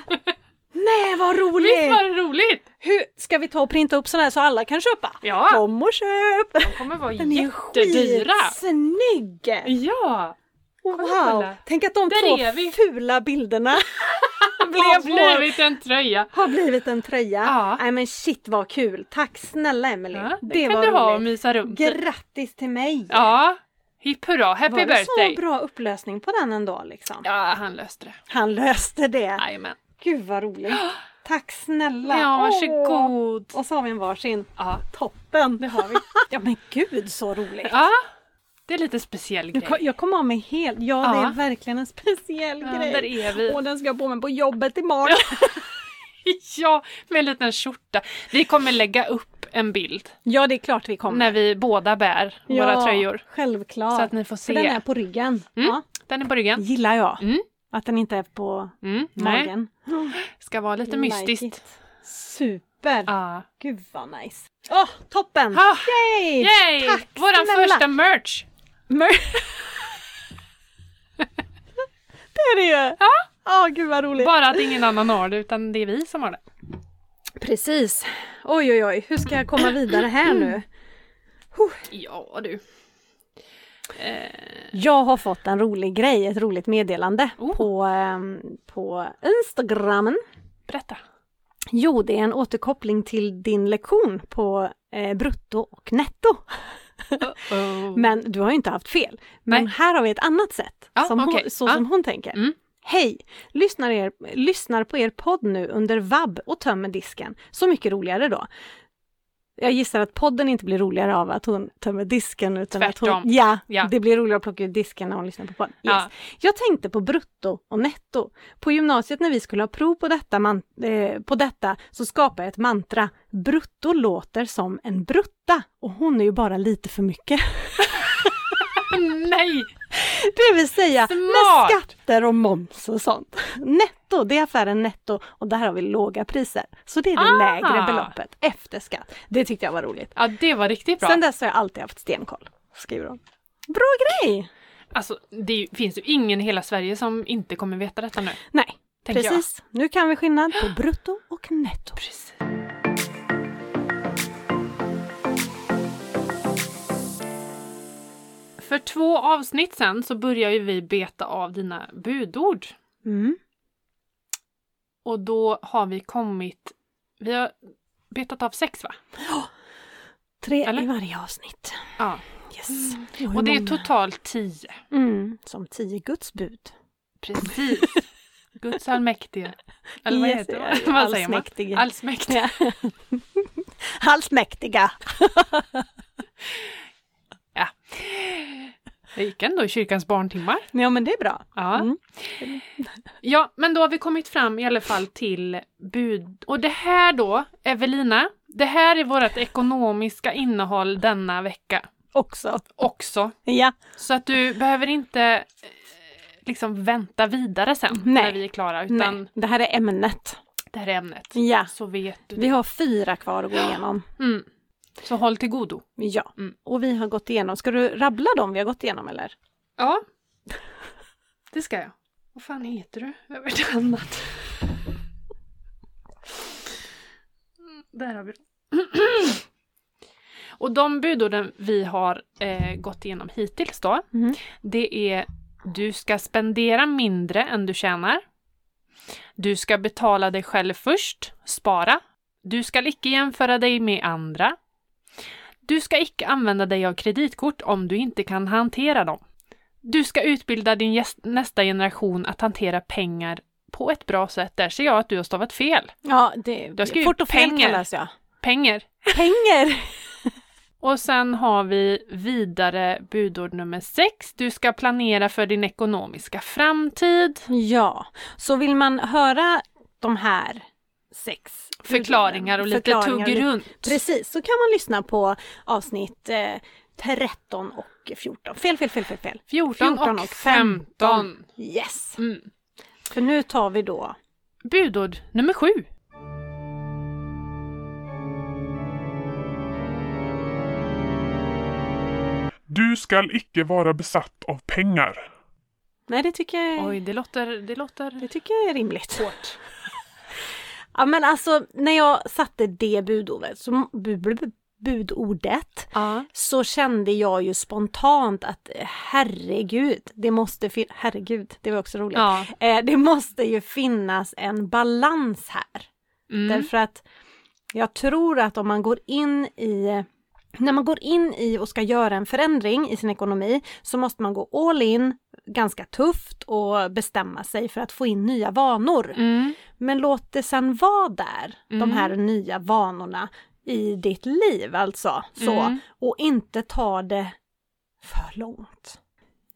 [SPEAKER 2] Nej vad roligt!
[SPEAKER 1] Visst var det roligt?
[SPEAKER 2] Hur ska vi ta och printa upp sån här så alla kan köpa?
[SPEAKER 1] Ja.
[SPEAKER 2] Kom och köp!
[SPEAKER 1] De kommer vara
[SPEAKER 2] Den är ju
[SPEAKER 1] jättedyra!
[SPEAKER 2] skitsnygg!
[SPEAKER 1] Ja!
[SPEAKER 2] Wow!
[SPEAKER 1] kolla.
[SPEAKER 2] Tänk att de
[SPEAKER 1] Där
[SPEAKER 2] två
[SPEAKER 1] är vi.
[SPEAKER 2] fula bilderna
[SPEAKER 1] Blev
[SPEAKER 2] blev vår,
[SPEAKER 1] blivit en tröja!
[SPEAKER 2] har blivit en tröja.
[SPEAKER 1] Ja.
[SPEAKER 2] Nej men shit vad kul! Tack snälla Emelie!
[SPEAKER 1] Ja, det,
[SPEAKER 2] det
[SPEAKER 1] kan
[SPEAKER 2] var
[SPEAKER 1] du ha och
[SPEAKER 2] roligt!
[SPEAKER 1] mysa runt i.
[SPEAKER 2] Grattis till mig!
[SPEAKER 1] Ja! Hipp hurra, happy
[SPEAKER 2] var det
[SPEAKER 1] birthday!
[SPEAKER 2] så bra upplösning på den ändå liksom?
[SPEAKER 1] Ja, han löste det.
[SPEAKER 2] Han löste det!
[SPEAKER 1] Jajamän.
[SPEAKER 2] Gud vad roligt! Tack snälla!
[SPEAKER 1] Ja,
[SPEAKER 2] Åh.
[SPEAKER 1] varsågod.
[SPEAKER 2] Och så har vi en varsin.
[SPEAKER 1] Ja,
[SPEAKER 2] Toppen!
[SPEAKER 1] det har vi.
[SPEAKER 2] Ja men gud så roligt!
[SPEAKER 1] Ja, det är lite speciell
[SPEAKER 2] Nu kom,
[SPEAKER 1] grej.
[SPEAKER 2] jag kom av mig helt. Ja, det
[SPEAKER 1] Ja.
[SPEAKER 2] är verkligen en speciell
[SPEAKER 1] Ja,
[SPEAKER 2] grej.
[SPEAKER 1] där är vi.
[SPEAKER 2] Och den ska jag på mig på jobbet imorgon.
[SPEAKER 1] Ja, med en liten skjorta. Vi kommer lägga upp en bild
[SPEAKER 2] Ja, det är klart vi kommer.
[SPEAKER 1] när vi båda bär våra tröjor.
[SPEAKER 2] Självklart.
[SPEAKER 1] Så att ni får
[SPEAKER 2] För den
[SPEAKER 1] se.
[SPEAKER 2] är på ryggen.
[SPEAKER 1] Mm.
[SPEAKER 2] Ja,
[SPEAKER 1] Den är på ryggen.
[SPEAKER 2] gillar jag.
[SPEAKER 1] Mm.
[SPEAKER 2] Att den inte är på
[SPEAKER 1] Mm, nej,
[SPEAKER 2] magen.
[SPEAKER 1] ska vara lite
[SPEAKER 2] Like
[SPEAKER 1] mystiskt.
[SPEAKER 2] it. Super!
[SPEAKER 1] Ja.
[SPEAKER 2] Gud vad nice. Åh, toppen!
[SPEAKER 1] Ah,
[SPEAKER 2] Yay!
[SPEAKER 1] Yay!
[SPEAKER 2] Tack
[SPEAKER 1] Våran
[SPEAKER 2] snälla.
[SPEAKER 1] första merch!
[SPEAKER 2] Mer- det är det ju! Ja! Åh, gud vad roligt.
[SPEAKER 1] Bara att ingen annan har det, utan det är vi som har det.
[SPEAKER 2] Precis. Oj, oj, oj. Hur ska jag komma vidare här nu?
[SPEAKER 1] Ja du.
[SPEAKER 2] Jag har fått en rolig grej, ett roligt meddelande
[SPEAKER 1] Oh.
[SPEAKER 2] på, ehm, på Instagramen.
[SPEAKER 1] Berätta.
[SPEAKER 2] Jo, det är en återkoppling till din lektion på eh, brutto och netto.
[SPEAKER 1] Oh.
[SPEAKER 2] Men du har ju inte haft fel. Men
[SPEAKER 1] Nej.
[SPEAKER 2] här har vi ett annat sätt,
[SPEAKER 1] Ja,
[SPEAKER 2] som
[SPEAKER 1] okej.
[SPEAKER 2] hon, så
[SPEAKER 1] Ja.
[SPEAKER 2] som hon tänker.
[SPEAKER 1] Mm.
[SPEAKER 2] Hej! Lyssnar, er, lyssnar på er podd nu under vabb och tömmer disken. Så mycket roligare då. Jag gissar att podden inte blir roligare av att hon tömmer disken utan att
[SPEAKER 1] Tvärtom.
[SPEAKER 2] hon... Ja,
[SPEAKER 1] Ja.
[SPEAKER 2] det blir roligare att plocka ut disken när hon lyssnar på podden. Yes.
[SPEAKER 1] Ja.
[SPEAKER 2] Jag tänkte på brutto och netto. På gymnasiet när vi skulle ha prov på detta, man, eh, på detta så skapade jag ett mantra. Brutto låter som en brutta och hon är ju bara lite för mycket.
[SPEAKER 1] Nej!
[SPEAKER 2] Det vill säga
[SPEAKER 1] Smart!
[SPEAKER 2] med skatter och moms och sånt. Netto, det är affären Netto och där har vi låga priser. Så det är det
[SPEAKER 1] Ah!
[SPEAKER 2] lägre beloppet efter skatt. Det tyckte jag var roligt.
[SPEAKER 1] Ja, det var riktigt bra.
[SPEAKER 2] Sen dess har jag alltid haft stenkoll, skriver hon. Bra grej!
[SPEAKER 1] Alltså, det är ju- finns ju ingen i hela Sverige som inte kommer veta detta nu.
[SPEAKER 2] Nej,
[SPEAKER 1] Tänker jag.
[SPEAKER 2] precis. Nu kan vi skillnad på brutto och netto.
[SPEAKER 1] Precis. För två avsnitt sen så börjar ju vi beta av dina budord.
[SPEAKER 2] Mm.
[SPEAKER 1] Och då har vi kommit... Vi har betat av sex va?
[SPEAKER 2] Tre
[SPEAKER 1] Eller?
[SPEAKER 2] i varje avsnitt.
[SPEAKER 1] Ja.
[SPEAKER 2] Yes. Oj,
[SPEAKER 1] Och det är
[SPEAKER 2] många.
[SPEAKER 1] totalt tio.
[SPEAKER 2] mm. Som tio Guds bud.
[SPEAKER 1] Precis. Guds allmäktige. Eller vad heter
[SPEAKER 2] Yes,
[SPEAKER 1] det? Vad säger man?
[SPEAKER 2] Allsmäktige.
[SPEAKER 1] Allsmäktige.
[SPEAKER 2] Allsmäktiga.
[SPEAKER 1] Det gick ändå i kyrkans barntimmar.
[SPEAKER 2] Ja men det är bra.
[SPEAKER 1] Ja.
[SPEAKER 2] Mm.
[SPEAKER 1] ja, men då har vi kommit fram i alla fall till bud. Och det här då, Evelina, det här är vårt ekonomiska innehåll denna vecka
[SPEAKER 2] Också.
[SPEAKER 1] också.
[SPEAKER 2] Ja.
[SPEAKER 1] Så att du behöver inte eh, liksom vänta vidare sen när
[SPEAKER 2] Nej.
[SPEAKER 1] vi är klara, utan
[SPEAKER 2] Nej, det här är ämnet.
[SPEAKER 1] det här är ämnet.
[SPEAKER 2] Ja.
[SPEAKER 1] Så vet du.
[SPEAKER 2] Vi har fyra kvar att gå igenom.
[SPEAKER 1] Mm. Så håll till godo.
[SPEAKER 2] Ja,
[SPEAKER 1] Mm.
[SPEAKER 2] och vi har gått igenom. Ska du rabbla dem vi har gått igenom eller?
[SPEAKER 1] Ja, det ska jag. Vad fan heter du? Över ett annat. Mm, Där har vi det. Och de budorden vi har eh, gått igenom hittills då,
[SPEAKER 2] Mhm.
[SPEAKER 1] det är du ska spendera mindre än du tjänar. Du ska betala dig själv först, spara. Du ska icke jämföra dig med andra. Du ska icke använda dig av kreditkort om du inte kan hantera dem. Du ska utbilda din gäst- nästa generation att hantera pengar på ett bra sätt. Där ser jag att du har stavat fel.
[SPEAKER 2] Ja, det
[SPEAKER 1] Du har skrivit
[SPEAKER 2] fort och fel
[SPEAKER 1] pengar.
[SPEAKER 2] kallas jag.
[SPEAKER 1] Pengar.
[SPEAKER 2] Pengar!
[SPEAKER 1] Och sen har vi vidare budord nummer sex. Du ska planera för din ekonomiska framtid.
[SPEAKER 2] Ja, så vill man höra de här sex
[SPEAKER 1] Förklaringar och lite
[SPEAKER 2] förklaringar och
[SPEAKER 1] tugg
[SPEAKER 2] lite-
[SPEAKER 1] runt.
[SPEAKER 2] Precis, så kan man lyssna på avsnitt eh, 13 och 14. Fel, fel, fel, fel, fel.
[SPEAKER 1] 14,
[SPEAKER 2] 14
[SPEAKER 1] och
[SPEAKER 2] och
[SPEAKER 1] 15.
[SPEAKER 2] Yes!
[SPEAKER 1] Mm.
[SPEAKER 2] För nu tar vi då...
[SPEAKER 1] Budord nummer sju.
[SPEAKER 3] Du skall icke vara besatt av pengar.
[SPEAKER 2] Nej, det tycker jag,
[SPEAKER 1] Oj, det låter, det låter
[SPEAKER 2] Det tycker jag är rimligt.
[SPEAKER 1] hårt.
[SPEAKER 2] Ja men alltså när jag satte det budordet, så, bu, bu, bu, budordet
[SPEAKER 1] Ja.
[SPEAKER 2] så kände jag ju spontant att eh, herregud, det måste fin- herregud, det var också roligt.
[SPEAKER 1] ja.
[SPEAKER 2] Eh, det måste ju finnas en balans här.
[SPEAKER 1] Mm.
[SPEAKER 2] Därför att jag tror att om man går in i när man går in i och ska göra en förändring i sin ekonomi så måste man gå all in, ganska tufft och bestämma sig för att få in nya vanor.
[SPEAKER 1] Mm.
[SPEAKER 2] Men låt det sen vara där,
[SPEAKER 1] Mm.
[SPEAKER 2] de här nya vanorna i ditt liv alltså. Så.
[SPEAKER 1] Mm.
[SPEAKER 2] Och inte ta det för långt.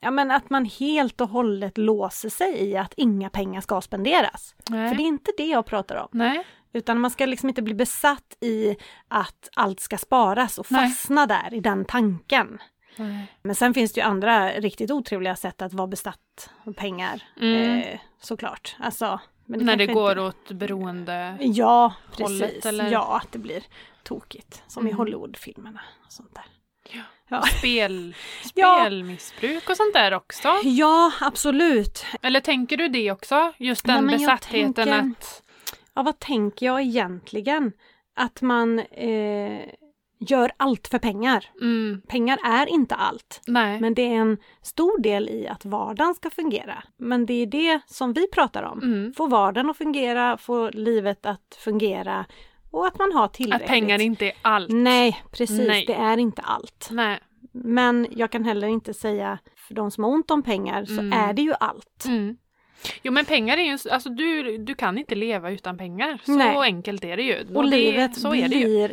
[SPEAKER 2] Ja men att man helt och hållet låser sig i att inga pengar ska spenderas.
[SPEAKER 1] Nej.
[SPEAKER 2] För det är inte det jag pratar om.
[SPEAKER 1] Nej.
[SPEAKER 2] Utan man ska liksom inte bli besatt i att allt ska sparas och
[SPEAKER 1] Nej.
[SPEAKER 2] fastna där i den tanken.
[SPEAKER 1] Nej.
[SPEAKER 2] Men sen finns det ju andra riktigt otrevliga sätt att vara besatt av pengar.
[SPEAKER 1] Mm.
[SPEAKER 2] Eh, såklart. Alltså, men
[SPEAKER 1] När det
[SPEAKER 2] kanske
[SPEAKER 1] går
[SPEAKER 2] inte-
[SPEAKER 1] åt beroende.
[SPEAKER 2] Ja,
[SPEAKER 1] hållet,
[SPEAKER 2] precis.
[SPEAKER 1] eller?
[SPEAKER 2] Ja, att det blir tokigt. Som i
[SPEAKER 1] Mm.
[SPEAKER 2] Hollywoodfilmerna och sånt där.
[SPEAKER 1] Spel,
[SPEAKER 2] Ja.
[SPEAKER 1] spelmissbruk och sånt där också.
[SPEAKER 2] Ja, absolut.
[SPEAKER 1] Eller tänker du det också? Just
[SPEAKER 2] Nej,
[SPEAKER 1] den
[SPEAKER 2] men jag
[SPEAKER 1] besattheten
[SPEAKER 2] tänker-
[SPEAKER 1] att...
[SPEAKER 2] Ja, vad tänker jag egentligen? Att man eh, gör allt för pengar.
[SPEAKER 1] Mm,
[SPEAKER 2] Pengar är inte allt.
[SPEAKER 1] nej.
[SPEAKER 2] Men det är en stor del i att vardagen ska fungera. Men det är det som vi pratar om.
[SPEAKER 1] Mm.
[SPEAKER 2] Få vardagen att fungera, få livet att fungera och att man har tillräckligt. Mm.
[SPEAKER 1] Att pengar inte är allt.
[SPEAKER 2] Nej, precis.
[SPEAKER 1] Nej.
[SPEAKER 2] Det är inte allt.
[SPEAKER 1] Nej.
[SPEAKER 2] Men jag kan heller inte säga, för de som har ont om pengar så
[SPEAKER 1] Mm.
[SPEAKER 2] är det ju allt.
[SPEAKER 1] Mm. Jo men pengar är ju, alltså du, du kan inte leva utan pengar. Så
[SPEAKER 2] Nej.
[SPEAKER 1] enkelt är det ju.
[SPEAKER 2] Och
[SPEAKER 1] Mm. det,
[SPEAKER 2] livet
[SPEAKER 1] så
[SPEAKER 2] blir
[SPEAKER 1] är det ju.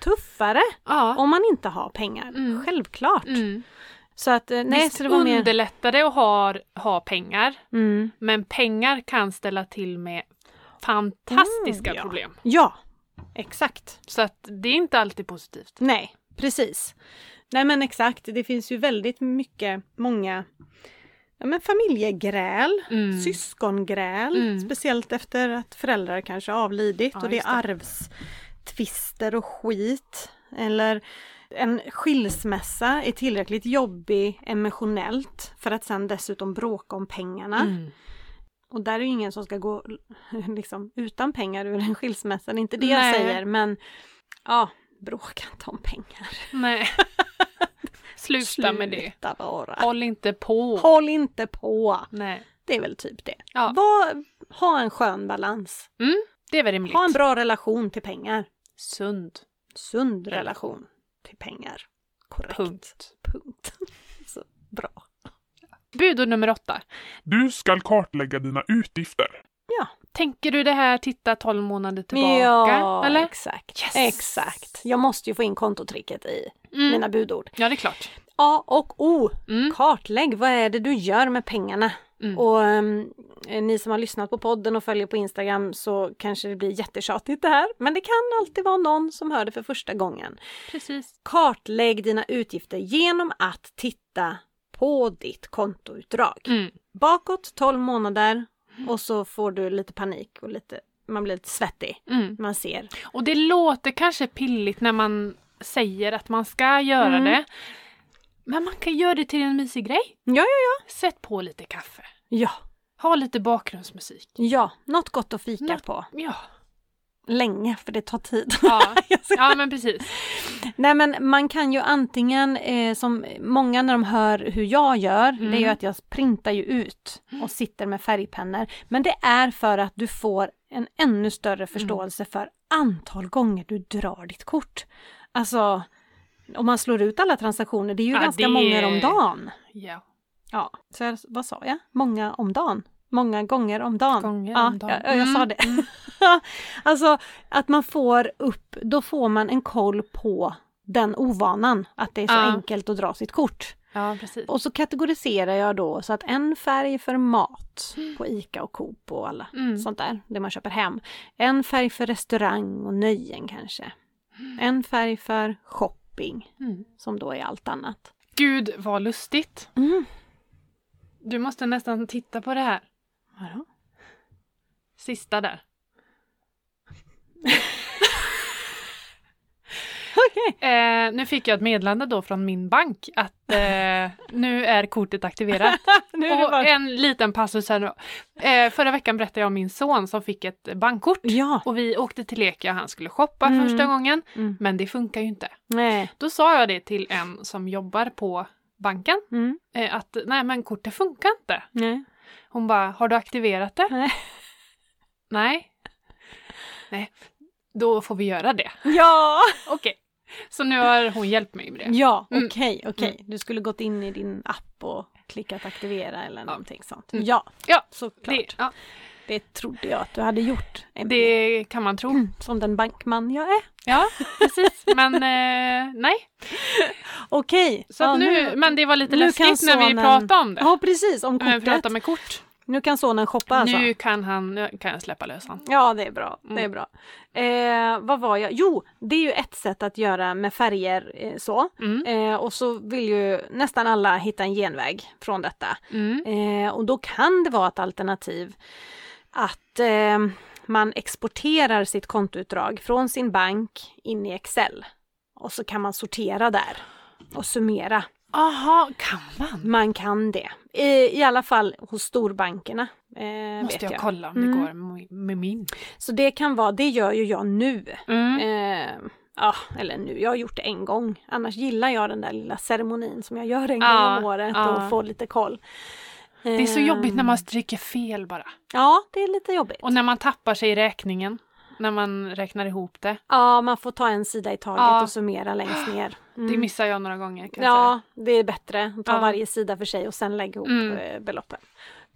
[SPEAKER 2] tuffare
[SPEAKER 1] Ja.
[SPEAKER 2] om man inte har pengar.
[SPEAKER 1] Mm.
[SPEAKER 2] Självklart.
[SPEAKER 1] Mm.
[SPEAKER 2] Så att, eh, nej,
[SPEAKER 1] Visst
[SPEAKER 2] så det var mer...
[SPEAKER 1] underlättar det att ha, ha pengar.
[SPEAKER 2] Mm.
[SPEAKER 1] Men pengar kan ställa till med fantastiska
[SPEAKER 2] Mm, ja.
[SPEAKER 1] problem.
[SPEAKER 2] Ja, exakt.
[SPEAKER 1] Så att det är inte alltid positivt.
[SPEAKER 2] Nej, precis. Nej men exakt, det finns ju väldigt mycket, många ja, men familjegräl,
[SPEAKER 1] Mm.
[SPEAKER 2] syskongräl,
[SPEAKER 1] Mm.
[SPEAKER 2] speciellt efter att föräldrar kanske har avlidit
[SPEAKER 1] Ja,
[SPEAKER 2] och det är
[SPEAKER 1] just det.
[SPEAKER 2] arvstvister och skit. Eller en skilsmässa är tillräckligt jobbig emotionellt för att sen dessutom bråka om pengarna.
[SPEAKER 1] Mm.
[SPEAKER 2] Och där är ju ingen som ska gå liksom, utan pengar ur en skilsmässa, det är inte det
[SPEAKER 1] Nej.
[SPEAKER 2] jag säger men ja, bråka inte om pengar.
[SPEAKER 1] Nej. Sluta, med det.
[SPEAKER 2] Sluta bara.
[SPEAKER 1] Håll inte på.
[SPEAKER 2] Håll inte på!
[SPEAKER 1] Nej.
[SPEAKER 2] Det är väl typ det.
[SPEAKER 1] Ja.
[SPEAKER 2] Var, ha en skön balans.
[SPEAKER 1] Det är väl rimligt.
[SPEAKER 2] Ha en bra relation till pengar.
[SPEAKER 1] Sund.
[SPEAKER 2] Sund relation till pengar. Korrekt.
[SPEAKER 1] Punkt.
[SPEAKER 2] Punkt. Så bra.
[SPEAKER 1] Budord nummer åtta.
[SPEAKER 3] Du skall kartlägga dina utgifter.
[SPEAKER 1] Tänker du det här titta 12 månader tillbaka?
[SPEAKER 2] ja,
[SPEAKER 1] eller?
[SPEAKER 2] exakt.
[SPEAKER 1] Yes.
[SPEAKER 2] Exakt. Jag måste ju få in kontotricket i
[SPEAKER 1] Mm.
[SPEAKER 2] mina budord.
[SPEAKER 1] Ja, det är klart.
[SPEAKER 2] A och O.
[SPEAKER 1] Mm.
[SPEAKER 2] Kartlägg. Vad är det du gör med pengarna?
[SPEAKER 1] Mm.
[SPEAKER 2] Och ehm, ni som har lyssnat på podden och följer på Instagram så kanske det blir jättetjatigt det här. Men det kan alltid vara någon som hör det för första gången.
[SPEAKER 1] Precis.
[SPEAKER 2] Kartlägg dina utgifter genom att titta på ditt kontoutdrag.
[SPEAKER 1] Mm.
[SPEAKER 2] Bakåt 12 månader och så får du lite panik och lite, man blir lite svettig.
[SPEAKER 1] Mm.
[SPEAKER 2] Man ser.
[SPEAKER 1] Och det låter kanske pilligt när man säger att man ska göra
[SPEAKER 2] Mm.
[SPEAKER 1] det. Men man kan göra det till en mysig grej.
[SPEAKER 2] Ja, ja,
[SPEAKER 1] Sätt på lite kaffe.
[SPEAKER 2] ja.
[SPEAKER 1] Ha lite bakgrundsmusik.
[SPEAKER 2] Ja, något gott att fika
[SPEAKER 1] Något-
[SPEAKER 2] på.
[SPEAKER 1] Ja,
[SPEAKER 2] Länge, för det tar tid.
[SPEAKER 1] ja,
[SPEAKER 2] Jag ska-
[SPEAKER 1] ja men precis.
[SPEAKER 2] Nej men man kan ju antingen, eh, som många när de hör hur jag gör, det är ju
[SPEAKER 1] Mm.
[SPEAKER 2] att jag printar ju ut och sitter med färgpennor. Men det är för att du får en ännu
[SPEAKER 1] Mm.
[SPEAKER 2] större förståelse för antal gånger du drar ditt kort. Alltså, om man slår ut alla transaktioner, det är ju
[SPEAKER 1] Ja,
[SPEAKER 2] ganska
[SPEAKER 1] det-
[SPEAKER 2] många om dagen.
[SPEAKER 1] Ja.
[SPEAKER 2] Ja, så jag, vad sa jag? Många om dagen. Många gånger om dagen.
[SPEAKER 1] Gånger
[SPEAKER 2] ja,
[SPEAKER 1] om dagen.
[SPEAKER 2] Jag, jag sa
[SPEAKER 1] Mm,
[SPEAKER 2] det. alltså att man får upp, då får man en koll på den ovanan, att det är så
[SPEAKER 1] Ja.
[SPEAKER 2] enkelt att dra sitt kort.
[SPEAKER 1] Ja, precis.
[SPEAKER 2] Och så kategoriserar jag då så att en färg för mat på ICA och Coop och alla
[SPEAKER 1] Mm.
[SPEAKER 2] sånt där, det man köper hem. En färg för restaurang och nöjen kanske. En färg för shopping,
[SPEAKER 1] Mm.
[SPEAKER 2] som då är allt annat.
[SPEAKER 1] Gud vad lustigt.
[SPEAKER 2] Mm.
[SPEAKER 1] Du måste nästan titta på det här.
[SPEAKER 2] Vadå?
[SPEAKER 1] Sista där.
[SPEAKER 2] Okej!
[SPEAKER 1] Eh, nu fick jag ett meddelande då från min bank att eh, nu är kortet aktiverat.
[SPEAKER 2] Nu är det
[SPEAKER 1] Och
[SPEAKER 2] bara...
[SPEAKER 1] en liten passus här nu. Eh, förra veckan berättade jag om min son som fick ett bankkort.
[SPEAKER 2] Ja.
[SPEAKER 1] Och vi åkte till Lekia, han skulle shoppa
[SPEAKER 2] Mm.
[SPEAKER 1] första gången.
[SPEAKER 2] Mm.
[SPEAKER 1] Men det funkar ju inte.
[SPEAKER 2] Nej.
[SPEAKER 1] Då sa jag det till en som jobbar på banken.
[SPEAKER 2] Mm.
[SPEAKER 1] Eh, att nej men kortet funkar inte.
[SPEAKER 2] Nej.
[SPEAKER 1] Hon bara, har du aktiverat det?
[SPEAKER 2] Nej.
[SPEAKER 1] Nej. Nej. Då får vi göra det.
[SPEAKER 2] Ja!
[SPEAKER 1] Okej. Så nu har hon hjälpt mig med det.
[SPEAKER 2] Ja,
[SPEAKER 1] Mm.
[SPEAKER 2] okej, okej. Du skulle gått in i din app och klickat aktivera eller någonting sånt.
[SPEAKER 1] Mm.
[SPEAKER 2] Ja,
[SPEAKER 1] Ja,
[SPEAKER 2] såklart.
[SPEAKER 1] Det,
[SPEAKER 2] Det,
[SPEAKER 1] ja,
[SPEAKER 2] trodde jag att du hade gjort. Det...
[SPEAKER 1] det kan man tro.
[SPEAKER 2] Som den bankman jag är.
[SPEAKER 1] Ja, precis. Men eh, nej.
[SPEAKER 2] Okej.
[SPEAKER 1] Så
[SPEAKER 2] ja,
[SPEAKER 1] att nu, men det var lite
[SPEAKER 2] nu kan
[SPEAKER 1] läskigt när vi
[SPEAKER 2] sonen-
[SPEAKER 1] pratade om det.
[SPEAKER 2] Ja, precis. Om
[SPEAKER 1] när vi
[SPEAKER 2] kortet.
[SPEAKER 1] pratade med kort.
[SPEAKER 2] Nu kan sonen shoppa alltså.
[SPEAKER 1] Nu kan, han, nu kan jag släppa lös han.
[SPEAKER 2] Ja, det är bra. Det är
[SPEAKER 1] Mm.
[SPEAKER 2] bra. Eh, vad var jag? Jo, det är ju ett sätt att göra med färger eh, så.
[SPEAKER 1] Mm.
[SPEAKER 2] Eh, och så vill ju nästan alla hitta en genväg från detta.
[SPEAKER 1] Mm.
[SPEAKER 2] Eh, och då kan det vara ett alternativ att eh, man exporterar sitt kontoutdrag från sin bank in i Excel. Och så kan man sortera där och summera.
[SPEAKER 1] Aha, kan man?
[SPEAKER 2] Man kan det. I, i alla fall hos storbankerna. Eh, vet
[SPEAKER 1] Måste
[SPEAKER 2] jag.
[SPEAKER 1] jag kolla om det
[SPEAKER 2] Mm.
[SPEAKER 1] går med- med min.
[SPEAKER 2] Så det kan vara, det gör ju jag nu.
[SPEAKER 1] Mm.
[SPEAKER 2] Eh, ja, eller nu, jag har gjort det en gång. Annars gillar jag den där lilla ceremonin som jag gör en
[SPEAKER 1] Ja,
[SPEAKER 2] gång om året
[SPEAKER 1] ja.
[SPEAKER 2] och får lite koll. Eh,
[SPEAKER 1] Det är så jobbigt när man stryker fel bara.
[SPEAKER 2] Ja, det är lite jobbigt.
[SPEAKER 1] Och när man tappar sig i räkningen. När man räknar ihop det.
[SPEAKER 2] Ja, man får ta en sida i taget
[SPEAKER 1] Ja.
[SPEAKER 2] och summera längst ner. Mm.
[SPEAKER 1] Det missar jag några gånger kan jag säga.
[SPEAKER 2] ja, det är bättre att ta
[SPEAKER 1] Ja.
[SPEAKER 2] varje sida för sig och sen lägga ihop
[SPEAKER 1] Mm.
[SPEAKER 2] eh, beloppen.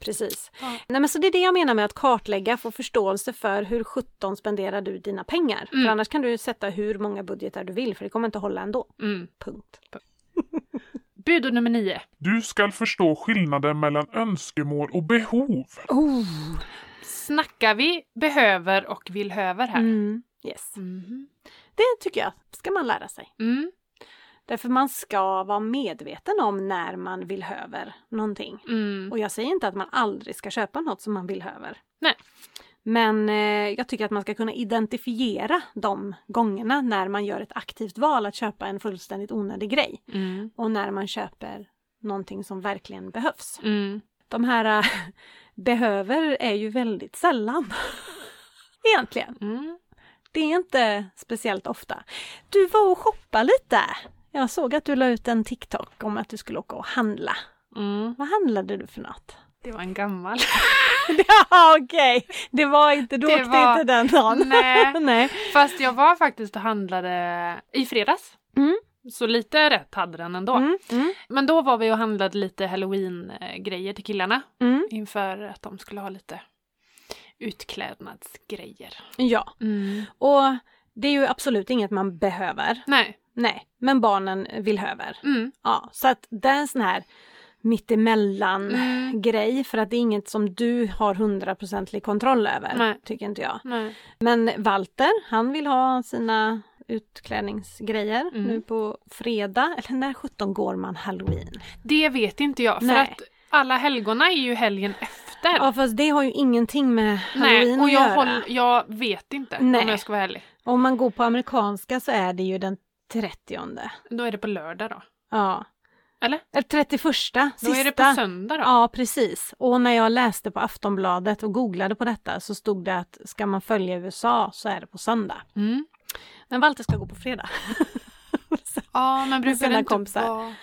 [SPEAKER 2] Precis.
[SPEAKER 1] Ja.
[SPEAKER 2] Nej, men så det är det jag menar med att kartlägga, få förståelse för hur 17 spenderar du dina pengar.
[SPEAKER 1] Mm.
[SPEAKER 2] För annars kan du sätta hur många budgetar du vill för det kommer inte hålla ändå.
[SPEAKER 1] Mm.
[SPEAKER 2] Punkt.
[SPEAKER 1] Budord nummer nio.
[SPEAKER 3] Du skall förstå skillnaden mellan önskemål och behov.
[SPEAKER 2] Oh.
[SPEAKER 1] Snackar vi behöver och vill höver här?
[SPEAKER 2] Mm. Yes.
[SPEAKER 1] Mhm.
[SPEAKER 2] Det tycker jag ska man lära sig.
[SPEAKER 1] Mm.
[SPEAKER 2] Därför man ska vara medveten om när man vill höver någonting.
[SPEAKER 1] Mm.
[SPEAKER 2] Och jag säger inte att man aldrig ska köpa något som man vill höver.
[SPEAKER 1] Nej.
[SPEAKER 2] Men eh, jag tycker att man ska kunna identifiera de gångerna när man gör ett aktivt val att köpa en fullständigt onödig grej.
[SPEAKER 1] Mm.
[SPEAKER 2] Och när man köper någonting som verkligen behövs.
[SPEAKER 1] Mm.
[SPEAKER 2] De här eh, behöver är ju väldigt sällan. Egentligen.
[SPEAKER 1] Mm.
[SPEAKER 2] Det är inte speciellt ofta. Du var och shoppade lite. Jag såg att du la ut en TikTok om att du skulle åka och handla.
[SPEAKER 1] Mm.
[SPEAKER 2] Vad handlade du för något?
[SPEAKER 1] Det var en gammal.
[SPEAKER 2] Ja, okej. Det var inte, du
[SPEAKER 1] Det
[SPEAKER 2] åkte
[SPEAKER 1] var-
[SPEAKER 2] inte den dagen.
[SPEAKER 1] Nej.
[SPEAKER 2] Nej.
[SPEAKER 1] Fast jag var faktiskt och handlade i fredags.
[SPEAKER 2] Mm.
[SPEAKER 1] Så lite rätt hade den ändå.
[SPEAKER 2] Mm, mm,
[SPEAKER 1] Men då var vi och handlade lite halloween-grejer till killarna.
[SPEAKER 2] mm.
[SPEAKER 1] Inför att de skulle ha lite utklädnadsgrejer.
[SPEAKER 2] Ja, och det är ju absolut inget man behöver.
[SPEAKER 1] Nej.
[SPEAKER 2] Nej, men barnen vill höver.
[SPEAKER 1] Mm.
[SPEAKER 2] Ja, så att det är en sån här mittemellan
[SPEAKER 1] Mm.
[SPEAKER 2] grej för att det är inget som du har hundraprocentig kontroll över.
[SPEAKER 1] Nej.
[SPEAKER 2] Tycker inte jag.
[SPEAKER 1] Nej.
[SPEAKER 2] Men Walter, han vill ha sina utklädningsgrejer
[SPEAKER 1] Mm.
[SPEAKER 2] nu på fredag. Eller när 17 går man halloween?
[SPEAKER 1] Det vet inte jag, för
[SPEAKER 2] Nej.
[SPEAKER 1] att alla helgona är ju helgen efter.
[SPEAKER 2] Ja fast det har ju ingenting med halloween
[SPEAKER 1] Nej, och jag,
[SPEAKER 2] att göra.
[SPEAKER 1] håll, jag vet inte
[SPEAKER 2] Nej.
[SPEAKER 1] om jag ska vara ärlig.
[SPEAKER 2] Om man går på amerikanska så är det ju den 30.
[SPEAKER 1] Då är det på lördag då.
[SPEAKER 2] Ja.
[SPEAKER 1] Eller?
[SPEAKER 2] Eller 31. Sista.
[SPEAKER 1] Då är det på söndag då.
[SPEAKER 2] Ja, precis. Och när jag läste på Aftonbladet och googlade på detta så stod det att ska man följa USA så är det på söndag.
[SPEAKER 1] Mm.
[SPEAKER 2] Men Walter ska gå på fredag.
[SPEAKER 1] Ja, men brukar
[SPEAKER 2] sina
[SPEAKER 1] det inte
[SPEAKER 2] kompisar.
[SPEAKER 1] vara...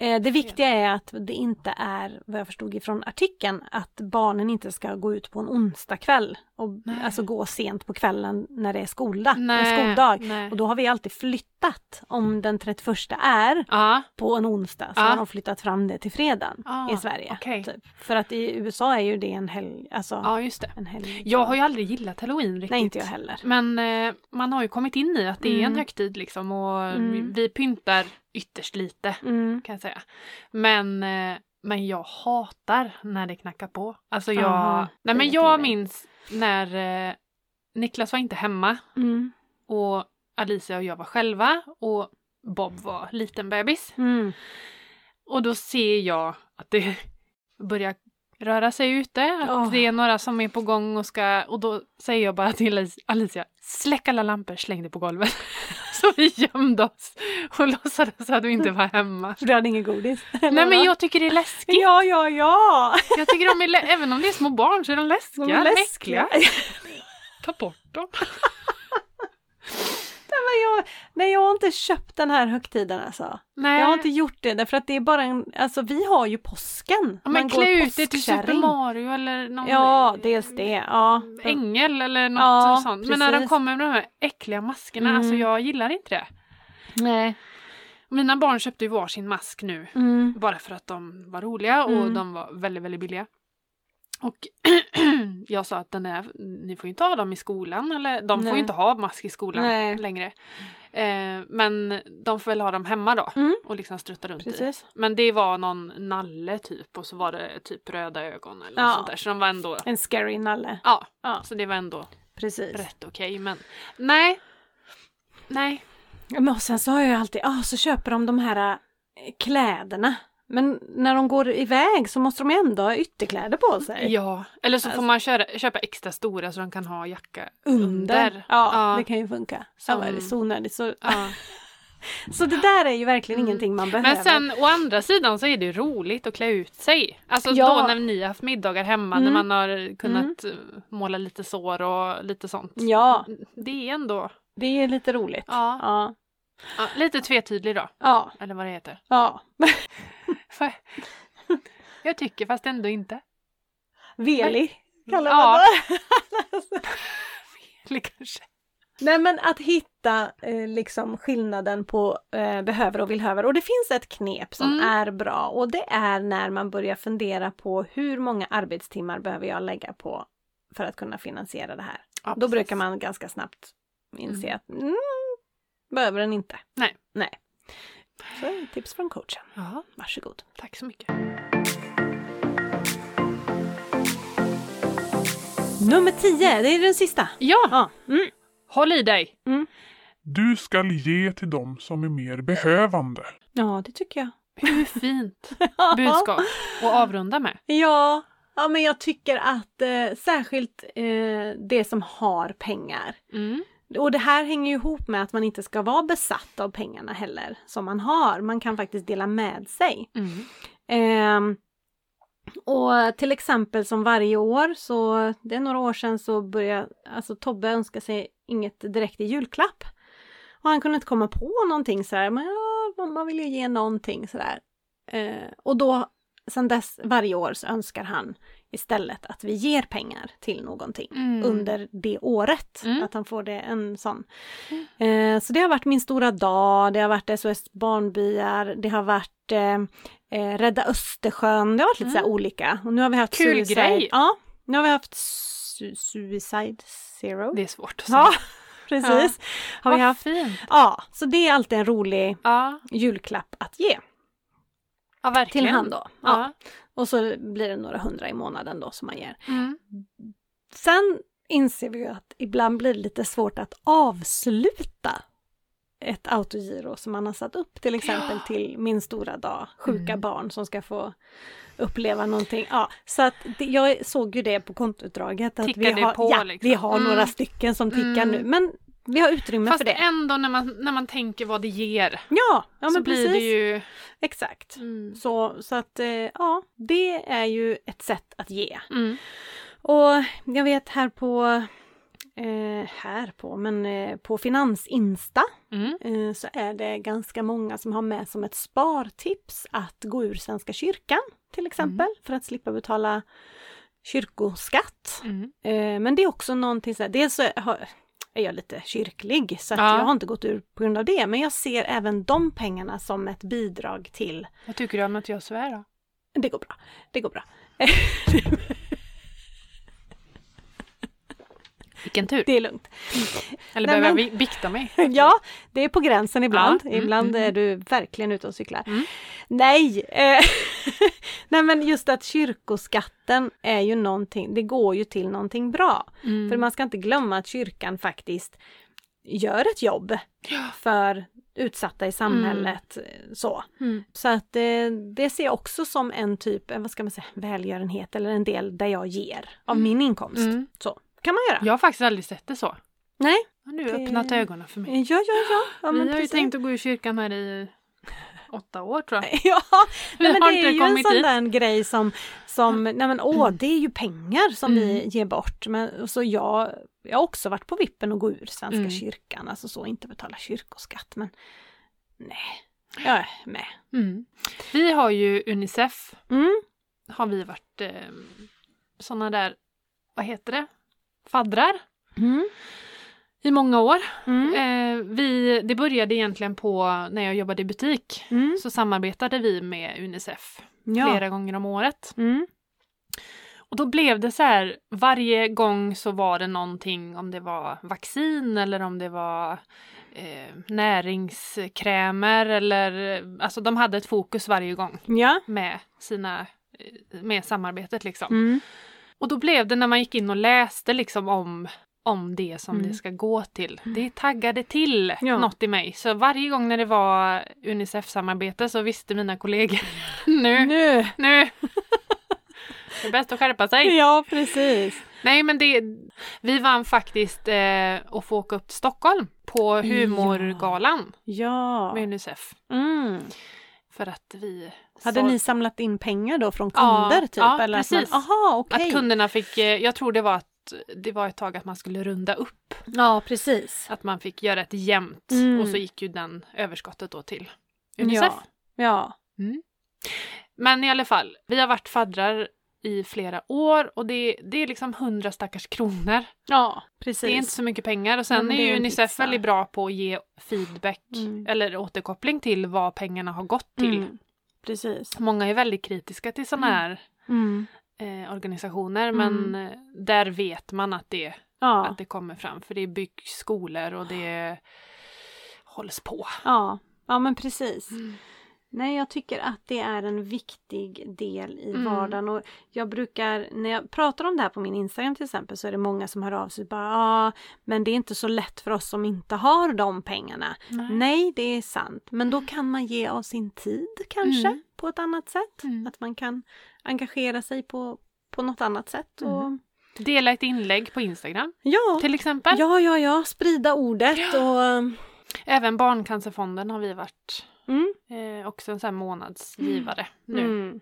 [SPEAKER 2] Eh, Det viktiga är att det inte är, vad jag förstod ifrån artikeln, att barnen inte ska gå ut på en onsdagkväll och
[SPEAKER 1] Nej.
[SPEAKER 2] alltså gå sent på kvällen när det är skoldag, en
[SPEAKER 1] Nej,
[SPEAKER 2] skoldag.
[SPEAKER 1] nej.
[SPEAKER 2] Och då har vi alltid flyttat, om den 31 är
[SPEAKER 1] Ja,
[SPEAKER 2] på en onsdag så
[SPEAKER 1] Ja.
[SPEAKER 2] har de flyttat fram det till fredagen
[SPEAKER 1] Ah,
[SPEAKER 2] i Sverige.
[SPEAKER 1] okej.
[SPEAKER 2] Typ. För att i USA är ju det en helg, alltså
[SPEAKER 1] ja, just det.
[SPEAKER 2] en helg.
[SPEAKER 1] Jag har ju aldrig gillat halloween riktigt.
[SPEAKER 2] Nej, inte jag heller.
[SPEAKER 1] Men eh, man har ju kommit in i att det är en
[SPEAKER 2] Mm.
[SPEAKER 1] högtid liksom och
[SPEAKER 2] Mm.
[SPEAKER 1] vi pyntar ytterst lite
[SPEAKER 2] Mm.
[SPEAKER 1] kan jag säga. Men, eh, men jag hatar när det knackar på. Alltså jag,
[SPEAKER 2] Aha,
[SPEAKER 1] nej
[SPEAKER 2] det
[SPEAKER 1] men
[SPEAKER 2] vet
[SPEAKER 1] jag
[SPEAKER 2] jag.
[SPEAKER 1] minns när eh, Niklas var inte hemma
[SPEAKER 2] Mm.
[SPEAKER 1] och Alicia och jag var själva och Bob var liten bebis.
[SPEAKER 2] Mm.
[SPEAKER 1] Och då ser jag att det börjar röra sig ute, att
[SPEAKER 2] Åh.
[SPEAKER 1] det är några som är på gång och ska... Och då säger jag bara till Alic- Alicia, släck alla lampor, släng det på golvet. Så vi gömde oss och låtsades att vi inte var hemma.
[SPEAKER 2] För du hade ingen godis?
[SPEAKER 1] Nej men jag tycker det är läskigt.
[SPEAKER 2] Ja, ja, ja!
[SPEAKER 1] Jag tycker de är lä- även om det är små barn så är de läskiga.
[SPEAKER 2] De är läskiga.
[SPEAKER 1] äckliga. Ta bort dem.
[SPEAKER 2] Men jag, nej, jag har inte köpt den här högtiden alltså.
[SPEAKER 1] Nej.
[SPEAKER 2] Jag har inte gjort det därför att det är bara en, alltså vi har ju påsken.
[SPEAKER 1] Ja, men
[SPEAKER 2] går
[SPEAKER 1] klä ut dig till Super
[SPEAKER 2] påskkärring.
[SPEAKER 1] Mario eller någon
[SPEAKER 2] Ja, dels det. Ja.
[SPEAKER 1] ängel eller något
[SPEAKER 2] Ja,
[SPEAKER 1] sånt. Men när de
[SPEAKER 2] precis.
[SPEAKER 1] kommer med de här äckliga maskerna,
[SPEAKER 2] Mm.
[SPEAKER 1] alltså jag gillar inte det.
[SPEAKER 2] Nej.
[SPEAKER 1] Mina barn köpte ju varsin mask nu,
[SPEAKER 2] Mm.
[SPEAKER 1] bara för att de var roliga och
[SPEAKER 2] Mm.
[SPEAKER 1] de var väldigt, väldigt billiga. Och jag sa att den är, ni får ju inte ha dem i skolan, eller de får
[SPEAKER 2] Nej.
[SPEAKER 1] ju inte ha mask i skolan
[SPEAKER 2] Nej.
[SPEAKER 1] längre. Eh, men de får väl ha dem hemma då
[SPEAKER 2] Mm.
[SPEAKER 1] och liksom strutta runt i.
[SPEAKER 2] Precis.
[SPEAKER 1] Men det var någon nalle typ och så var det typ röda ögon eller
[SPEAKER 2] Ja.
[SPEAKER 1] något sånt där. Så de var ändå,
[SPEAKER 2] En scary nalle.
[SPEAKER 1] ja,
[SPEAKER 2] Ja.
[SPEAKER 1] så det var ändå
[SPEAKER 2] Precis.
[SPEAKER 1] rätt okej. men nej, nej.
[SPEAKER 2] Ja, Men och sen så har jag ju alltid, ah så köper de de här äh, kläderna. Men när de går iväg så måste de ändå ha ytterkläder på sig.
[SPEAKER 1] Ja, eller så
[SPEAKER 2] Alltså-
[SPEAKER 1] får man köra, köpa extra stora så de kan ha jacka
[SPEAKER 2] Under. Ja,
[SPEAKER 1] Ja.
[SPEAKER 2] det kan ju funka.
[SPEAKER 1] Som-
[SPEAKER 2] Så är det så onödigt. Så,
[SPEAKER 1] Ja. Mm.
[SPEAKER 2] så det där är ju verkligen ingenting man behöver.
[SPEAKER 1] Men sen å andra sidan så är det ju roligt att klä ut sig. Alltså
[SPEAKER 2] Ja.
[SPEAKER 1] då när ni har haft middagar hemma,
[SPEAKER 2] Mm.
[SPEAKER 1] när man har kunnat eh, måla lite sår och lite sånt.
[SPEAKER 2] Ja.
[SPEAKER 1] Det är ändå
[SPEAKER 2] Det är lite roligt.
[SPEAKER 1] ja.
[SPEAKER 2] Ja.
[SPEAKER 1] Ja, lite tvetydig då,
[SPEAKER 2] Ja.
[SPEAKER 1] eller vad det heter.
[SPEAKER 2] ja.
[SPEAKER 1] För- Jag tycker fast ändå inte.
[SPEAKER 2] Veli kallar man
[SPEAKER 1] Ja.
[SPEAKER 2] det.
[SPEAKER 1] Eller kanske.
[SPEAKER 2] Nej men att hitta eh, liksom skillnaden på eh, behöver och villhöver. Och det finns ett knep som
[SPEAKER 1] Mm.
[SPEAKER 2] är bra och det är när man börjar fundera på hur många arbetstimmar behöver jag lägga på för att kunna finansiera det här.
[SPEAKER 1] Ja,
[SPEAKER 2] Då
[SPEAKER 1] precis.
[SPEAKER 2] brukar man ganska snabbt inse
[SPEAKER 1] Mm.
[SPEAKER 2] att mm, behöver den inte.
[SPEAKER 1] Nej.
[SPEAKER 2] Nej. Så, tips från coachen.
[SPEAKER 1] Ja,
[SPEAKER 2] Varsågod.
[SPEAKER 1] tack så mycket.
[SPEAKER 2] Nummer 10, det är den sista.
[SPEAKER 1] Ja,
[SPEAKER 2] Ja. Mm.
[SPEAKER 1] håll i dig.
[SPEAKER 3] Du skall ge till dem som är mer behövande.
[SPEAKER 2] Ja, det tycker jag.
[SPEAKER 1] Hur fint budskap att avrunda med.
[SPEAKER 2] Ja, ja men jag tycker att eh, särskilt eh, det som har pengar.
[SPEAKER 1] Mm.
[SPEAKER 2] Och det här hänger ju ihop med att man inte ska vara besatt av pengarna heller som man har. Man kan faktiskt dela med sig.
[SPEAKER 1] Mm.
[SPEAKER 2] Ehm, och till exempel som varje år så, det är några år sedan så började, alltså Tobbe önska sig inget direkt i julklapp. Och han kunde inte komma på någonting sådär, men ja, mamma vill ju ge någonting sådär. Eh, och då, sedan dess, varje år så önskar han istället att vi ger pengar till någonting
[SPEAKER 1] Mm.
[SPEAKER 2] under det året.
[SPEAKER 1] Mm.
[SPEAKER 2] Att han får det en sån. Eh, så det har varit Min stora dag, det har varit SOS Barnbyar, det har varit eh, eh, Rädda Östersjön, det har varit lite
[SPEAKER 1] Mm.
[SPEAKER 2] så här olika. Och nu har vi haft
[SPEAKER 1] Kul
[SPEAKER 2] suicide.
[SPEAKER 1] grej.
[SPEAKER 2] Ja, nu har vi haft su- Suicide Zero.
[SPEAKER 1] Det är svårt att säga.
[SPEAKER 2] Ja, precis. Har
[SPEAKER 1] Vad
[SPEAKER 2] vi haft.
[SPEAKER 1] fint.
[SPEAKER 2] Ja, så det är alltid en rolig
[SPEAKER 1] Ja,
[SPEAKER 2] julklapp att ge
[SPEAKER 1] ja verkligen.
[SPEAKER 2] till han då. Ja.
[SPEAKER 1] Ja.
[SPEAKER 2] Och så blir det några hundra i månaden då som man ger.
[SPEAKER 1] Mm.
[SPEAKER 2] Sen inser vi ju att ibland blir det lite svårt att avsluta ett autogiro som man har satt upp till exempel till min stora dag, sjuka
[SPEAKER 1] Mm.
[SPEAKER 2] barn som ska få uppleva någonting. Ja, så att det, jag såg ju det på kontoutdraget att
[SPEAKER 1] Tickar
[SPEAKER 2] vi
[SPEAKER 1] det
[SPEAKER 2] har,
[SPEAKER 1] på,
[SPEAKER 2] ja,
[SPEAKER 1] liksom.
[SPEAKER 2] vi har
[SPEAKER 1] Mm.
[SPEAKER 2] några stycken som tickar
[SPEAKER 1] Mm.
[SPEAKER 2] nu men vi har utrymme
[SPEAKER 1] Fast
[SPEAKER 2] för det.
[SPEAKER 1] ändå när man, när man tänker vad det ger
[SPEAKER 2] Ja, ja
[SPEAKER 1] så
[SPEAKER 2] men
[SPEAKER 1] blir
[SPEAKER 2] precis.
[SPEAKER 1] det ju...
[SPEAKER 2] Exakt.
[SPEAKER 1] Mm.
[SPEAKER 2] Så, så att eh, ja, det är ju ett sätt att ge.
[SPEAKER 1] Mm.
[SPEAKER 2] Och jag vet här på, eh, här på, men eh, på Finansinsta
[SPEAKER 1] Mm.
[SPEAKER 2] eh, så är det ganska många som har med som ett spartips att gå ur Svenska kyrkan till exempel för att slippa betala kyrkoskatt.
[SPEAKER 1] Mm.
[SPEAKER 2] Eh, men det är också någonting så här, dels så har, är jag lite kyrklig så att
[SPEAKER 1] Ja.
[SPEAKER 2] jag har inte gått ur på grund av det men jag ser även de pengarna som ett bidrag till
[SPEAKER 1] Vad tycker du om att jag svär då?
[SPEAKER 2] det går bra. Det går bra.
[SPEAKER 1] Vilken tur!
[SPEAKER 2] Det är lugnat.
[SPEAKER 1] Eller
[SPEAKER 2] Nej,
[SPEAKER 1] behöver jag vi- bikta mig?
[SPEAKER 2] Ja, det är på gränsen ibland.
[SPEAKER 1] Ja, mm,
[SPEAKER 2] ibland
[SPEAKER 1] mm.
[SPEAKER 2] är du verkligen ute och cyklar.
[SPEAKER 1] Mm.
[SPEAKER 2] Nej! Eh, Nej men just att kyrkoskatten är ju någonting, det går ju till någonting bra.
[SPEAKER 1] Mm.
[SPEAKER 2] För man ska inte glömma att kyrkan faktiskt gör ett jobb för utsatta i samhället. eh, Så.
[SPEAKER 1] Mm.
[SPEAKER 2] Så att eh, det ser jag också som en typ, eh, vad ska man säga, välgörenhet eller en del där jag ger av min inkomst.
[SPEAKER 1] Mm.
[SPEAKER 2] Så kan man göra.
[SPEAKER 1] Jag har faktiskt aldrig sett det så.
[SPEAKER 2] Nej,
[SPEAKER 1] Har du
[SPEAKER 2] Det-
[SPEAKER 1] öppnat ögonen för mig?
[SPEAKER 2] Ja, ja, ja. ja
[SPEAKER 1] vi
[SPEAKER 2] men
[SPEAKER 1] har
[SPEAKER 2] precis.
[SPEAKER 1] ju tänkt att gå i kyrkan här i åtta år tror jag.
[SPEAKER 2] Ja,
[SPEAKER 1] Vi
[SPEAKER 2] nej, men
[SPEAKER 1] har
[SPEAKER 2] det
[SPEAKER 1] inte
[SPEAKER 2] är ju en
[SPEAKER 1] kommit
[SPEAKER 2] sån
[SPEAKER 1] dit.
[SPEAKER 2] där en grej som, som nej men åh, det är ju pengar som vi
[SPEAKER 1] Mm.
[SPEAKER 2] ger bort. Men, så jag, jag har också varit på vippen och gå ur Svenska
[SPEAKER 1] Mm.
[SPEAKER 2] kyrkan, alltså så, inte betala kyrkoskatt, men nej, jag är med.
[SPEAKER 1] Mm. Vi har ju Unicef,
[SPEAKER 2] Mm.
[SPEAKER 1] har vi varit eh, såna där, vad heter det, faddrar
[SPEAKER 2] Mm.
[SPEAKER 1] i många år.
[SPEAKER 2] Mm.
[SPEAKER 1] Eh, vi, det började egentligen på när jag jobbade i butik.
[SPEAKER 2] Mm.
[SPEAKER 1] Så samarbetade vi med Unicef
[SPEAKER 2] Ja.
[SPEAKER 1] Eh, flera gånger om året.
[SPEAKER 2] Mm.
[SPEAKER 1] Och då blev det så här, varje gång så var det någonting, om det var vaccin eller om det var eh, näringskrämer eller, alltså de hade ett fokus varje gång
[SPEAKER 2] Ja.
[SPEAKER 1] med sina, eh, med samarbetet liksom.
[SPEAKER 2] Mm.
[SPEAKER 1] Och då blev det när man gick in och läste liksom om, om det som
[SPEAKER 2] Mm.
[SPEAKER 1] det ska gå till. Det taggade till
[SPEAKER 2] Ja.
[SPEAKER 1] något i mig. Så varje gång när det var Unicef-samarbete så visste mina kollegor nu,
[SPEAKER 2] Nu!
[SPEAKER 1] nu! Det är bäst att skärpa sig.
[SPEAKER 2] Ja, precis.
[SPEAKER 1] Nej men det, vi vann faktiskt eh, att få åka upp till Stockholm på humorgalan
[SPEAKER 2] Ja.
[SPEAKER 1] med Unicef.
[SPEAKER 2] Mm.
[SPEAKER 1] För att vi...
[SPEAKER 2] Hade
[SPEAKER 1] sa-
[SPEAKER 2] ni samlat in pengar då från
[SPEAKER 1] Ja,
[SPEAKER 2] kunder typ?
[SPEAKER 1] ja,
[SPEAKER 2] eller att man-
[SPEAKER 1] precis.
[SPEAKER 2] Aha,
[SPEAKER 1] Att
[SPEAKER 2] okej.
[SPEAKER 1] kunderna fick, eh, jag tror det var att det var ett tag att man skulle runda upp.
[SPEAKER 2] Ja, precis.
[SPEAKER 1] Att man fick göra ett jämnt
[SPEAKER 2] Mm.
[SPEAKER 1] och så gick ju den överskottet då till Unicef.
[SPEAKER 2] Ja. Ja.
[SPEAKER 1] Men i alla fall, vi har varit faddrar i flera år och det, det är liksom hundra stackars kronor.
[SPEAKER 2] Ja, precis.
[SPEAKER 1] Det är inte så mycket pengar och
[SPEAKER 2] Nej,
[SPEAKER 1] sen
[SPEAKER 2] men
[SPEAKER 1] är
[SPEAKER 2] det är
[SPEAKER 1] ju
[SPEAKER 2] en
[SPEAKER 1] Unicef
[SPEAKER 2] pizza.
[SPEAKER 1] väldigt bra på att ge feedback
[SPEAKER 2] Mm.
[SPEAKER 1] eller återkoppling till vad pengarna har gått till.
[SPEAKER 2] Mm, precis.
[SPEAKER 1] Många är väldigt kritiska till sådana här
[SPEAKER 2] Mm.
[SPEAKER 1] eh, organisationer men eh, där vet man att det,
[SPEAKER 2] Ja,
[SPEAKER 1] att det kommer fram för det byggs skolor och det hålls på.
[SPEAKER 2] ja. ja, men precis.
[SPEAKER 1] Mm.
[SPEAKER 2] Nej, jag tycker att det är en viktig del i
[SPEAKER 1] Mm.
[SPEAKER 2] vardagen och jag brukar, när jag pratar om det här på min Instagram till exempel så är det många som hör av sig och bara ja, men det är inte så lätt för oss som inte har de pengarna. Nej, det är sant, men då kan man ge av sin tid kanske
[SPEAKER 1] Mm.
[SPEAKER 2] på ett annat sätt.
[SPEAKER 1] Mm.
[SPEAKER 2] Att man kan engagera sig på, på något annat sätt.
[SPEAKER 1] Mm.
[SPEAKER 2] Och,
[SPEAKER 1] Dela ett inlägg på Instagram
[SPEAKER 2] ja,
[SPEAKER 1] till exempel.
[SPEAKER 2] ja, ja, ja, sprida ordet och eh,
[SPEAKER 1] Även Barncancerfonden har vi varit
[SPEAKER 2] Mm.
[SPEAKER 1] eh, också en sån här månadsgivare nu.
[SPEAKER 2] Mm.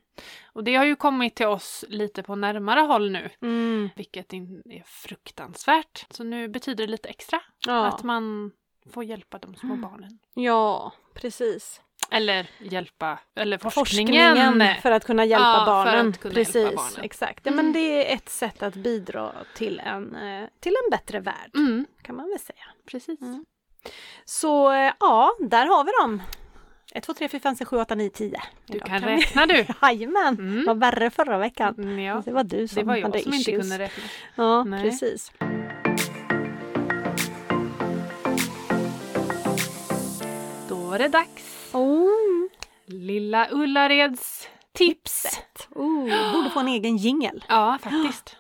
[SPEAKER 1] Och det har ju kommit till oss lite på närmare håll nu,
[SPEAKER 2] Mm.
[SPEAKER 1] vilket in- är fruktansvärt. Så nu betyder det lite extra
[SPEAKER 2] Ja. Mm.
[SPEAKER 1] att man får hjälpa de små barnen.
[SPEAKER 2] ja, precis.
[SPEAKER 1] Eller hjälpa, eller forskningen.
[SPEAKER 2] Forskningen för att kunna hjälpa
[SPEAKER 1] Ja, för
[SPEAKER 2] barnen.
[SPEAKER 1] att kunna
[SPEAKER 2] precis,
[SPEAKER 1] hjälpa barnen. Mm.
[SPEAKER 2] exakt. Ja, men det är ett sätt att bidra till en, eh, till en bättre värld,
[SPEAKER 1] Mm,
[SPEAKER 2] kan man väl säga.
[SPEAKER 1] precis.
[SPEAKER 2] Mm. Så eh, ja, där har vi dem. 1, 2, 3, 4, 5, 6, 7, 8, 9, 10.
[SPEAKER 1] Du
[SPEAKER 2] Idag
[SPEAKER 1] kan
[SPEAKER 2] vi-
[SPEAKER 1] räkna du.
[SPEAKER 2] Jajamän,
[SPEAKER 1] Mm.
[SPEAKER 2] vad värre förra veckan.
[SPEAKER 1] Mm, Ja,
[SPEAKER 2] Det var du
[SPEAKER 1] det
[SPEAKER 2] som
[SPEAKER 1] var jag
[SPEAKER 2] hade
[SPEAKER 1] som
[SPEAKER 2] issues.
[SPEAKER 1] inte kunde räkna.
[SPEAKER 2] Ja,
[SPEAKER 1] Nej.
[SPEAKER 2] precis.
[SPEAKER 1] Då var det dags.
[SPEAKER 2] Oh,
[SPEAKER 1] Lilla Ullareds tips.
[SPEAKER 2] tipset. Oh, borde få en egen jingel.
[SPEAKER 1] Ja, faktiskt.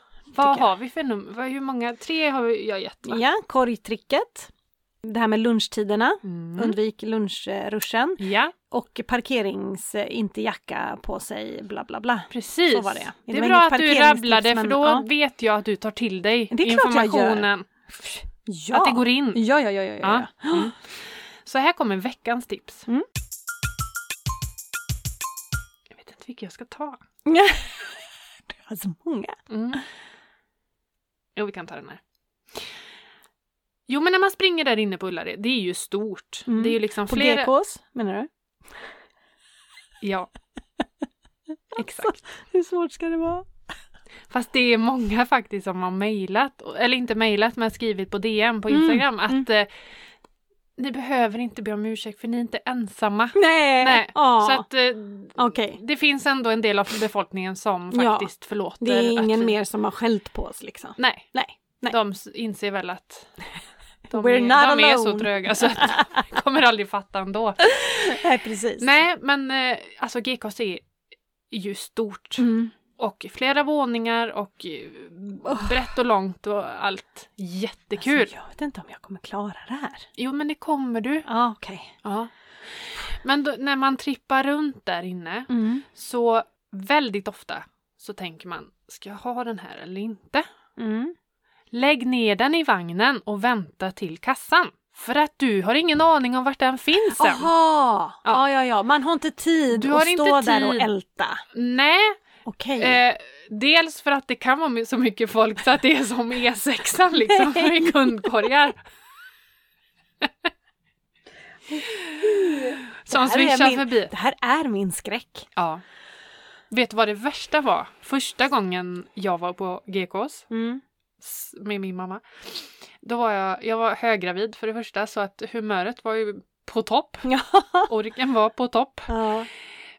[SPEAKER 1] Vad
[SPEAKER 2] tycker jag.
[SPEAKER 1] har vi för nummer? Hur många? Tre har vi- jag gett va?
[SPEAKER 2] Ja, korgtricket. Det här med lunchtiderna,
[SPEAKER 1] Mm.
[SPEAKER 2] undvik lunchruschen
[SPEAKER 1] Ja,
[SPEAKER 2] och parkerings, eh, inte jacka på sig, bla bla bla.
[SPEAKER 1] precis.
[SPEAKER 2] Så var det. Det
[SPEAKER 1] det.
[SPEAKER 2] var
[SPEAKER 1] är bra
[SPEAKER 2] inget
[SPEAKER 1] att du
[SPEAKER 2] parkeringstips,
[SPEAKER 1] rabblade
[SPEAKER 2] men-
[SPEAKER 1] för då
[SPEAKER 2] ja.
[SPEAKER 1] vet jag att du tar till dig
[SPEAKER 2] Det är klart jag gör.
[SPEAKER 1] informationen.
[SPEAKER 2] Ja.
[SPEAKER 1] Att det går in.
[SPEAKER 2] Ja, ja, ja, ja, ja. ja.
[SPEAKER 1] Mm. Så här kommer veckans tips.
[SPEAKER 2] Mm.
[SPEAKER 1] Jag vet inte vilken jag ska ta.
[SPEAKER 2] Det var så många.
[SPEAKER 1] Mm. Jo, vi kan ta den här. Jo, men när man springer där inne på Ullared, det är ju stort.
[SPEAKER 2] Mm.
[SPEAKER 1] Det är ju liksom
[SPEAKER 2] På
[SPEAKER 1] flera...
[SPEAKER 2] GKs, menar du?
[SPEAKER 1] Ja. Exakt.
[SPEAKER 2] Hur svårt ska det vara?
[SPEAKER 1] Fast det är många faktiskt som har mejlat, eller inte mejlat men skrivit på DM på
[SPEAKER 2] Mm,
[SPEAKER 1] Instagram att eh, ni behöver inte be om ursäkt för ni är inte ensamma.
[SPEAKER 2] Nej!
[SPEAKER 1] Nej,
[SPEAKER 2] Ja.
[SPEAKER 1] Så att eh,
[SPEAKER 2] Okej.
[SPEAKER 1] det finns ändå en del av befolkningen som
[SPEAKER 2] Ja,
[SPEAKER 1] faktiskt förlåter.
[SPEAKER 2] Det är ingen
[SPEAKER 1] att,
[SPEAKER 2] mer som har skällt på oss liksom.
[SPEAKER 1] Nej,
[SPEAKER 2] Nej. nej.
[SPEAKER 1] de s- inser väl att de,
[SPEAKER 2] We're
[SPEAKER 1] är,
[SPEAKER 2] not
[SPEAKER 1] de är så
[SPEAKER 2] alone.
[SPEAKER 1] tröga så att de kommer aldrig fatta ändå.
[SPEAKER 2] Nej, precis.
[SPEAKER 1] Nej, men eh, alltså GKs är ju stort.
[SPEAKER 2] Mm.
[SPEAKER 1] Och flera våningar och eh, brett och långt och allt. Jättekul!
[SPEAKER 2] Alltså, jag vet inte om jag kommer klara det här.
[SPEAKER 1] Jo men det kommer du.
[SPEAKER 2] Ja, okej.
[SPEAKER 1] Ja. Men då, när man trippar runt där inne
[SPEAKER 2] Mm.
[SPEAKER 1] så väldigt ofta så tänker man, ska jag ha den här eller inte? Mm. Lägg ner den i vagnen och vänta till kassan. För att du har ingen aning om vart den finns än.
[SPEAKER 2] Jaha! Ja.
[SPEAKER 1] Ja.
[SPEAKER 2] ja, ja, Man har inte tid
[SPEAKER 1] Du
[SPEAKER 2] att
[SPEAKER 1] har inte
[SPEAKER 2] stå där och
[SPEAKER 1] tid.
[SPEAKER 2] älta.
[SPEAKER 1] Nej,
[SPEAKER 2] Okej.
[SPEAKER 1] Eh, dels för att det kan vara my- så mycket folk så att det är som E6 liksom med kundkorgar. Som
[SPEAKER 2] Det här är
[SPEAKER 1] svischar
[SPEAKER 2] min-
[SPEAKER 1] förbi.
[SPEAKER 2] Det här är min skräck.
[SPEAKER 1] Ja. Vet du vad det värsta var? Första gången jag var på GKs s- med min mamma. Då var jag, jag var höggravid för det första så att humöret var ju på topp.
[SPEAKER 2] Ja.
[SPEAKER 1] Orken var på topp.
[SPEAKER 2] Ja.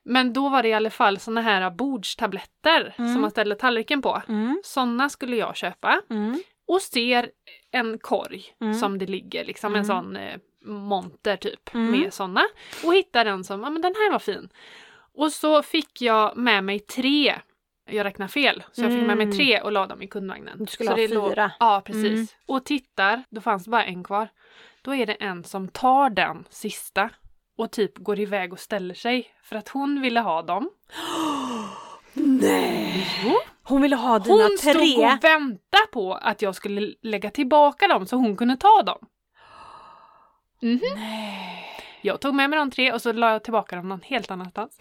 [SPEAKER 1] Men då var det i alla fall såna här bordstabletter
[SPEAKER 2] Mm.
[SPEAKER 1] som man ställer tallriken på.
[SPEAKER 2] Mm.
[SPEAKER 1] Såna skulle jag köpa
[SPEAKER 2] Mm.
[SPEAKER 1] och ser en korg
[SPEAKER 2] Mm.
[SPEAKER 1] som det ligger, liksom
[SPEAKER 2] Mm.
[SPEAKER 1] en sån eh, monter typ
[SPEAKER 2] Mm.
[SPEAKER 1] med såna. Och hittar en som, ja men den här var fin. Och så fick jag med mig tre, jag räknar fel, så jag fick med
[SPEAKER 2] Mm.
[SPEAKER 1] mig tre och la dem i kundvagnen.
[SPEAKER 2] Du skulle
[SPEAKER 1] så
[SPEAKER 2] ha fyra.
[SPEAKER 1] ja precis.
[SPEAKER 2] Mm.
[SPEAKER 1] Och tittar, då fanns det bara en kvar. Då är det en som tar den sista och typ går iväg och ställer sig för att hon ville ha dem.
[SPEAKER 2] Nej! Hon ville ha dina
[SPEAKER 1] Hon
[SPEAKER 2] tre.
[SPEAKER 1] stod och väntade på att jag skulle lägga tillbaka dem så hon kunde ta dem. Mhm. Jag tog med mig de tre och så la jag tillbaka dem någon helt annanstans.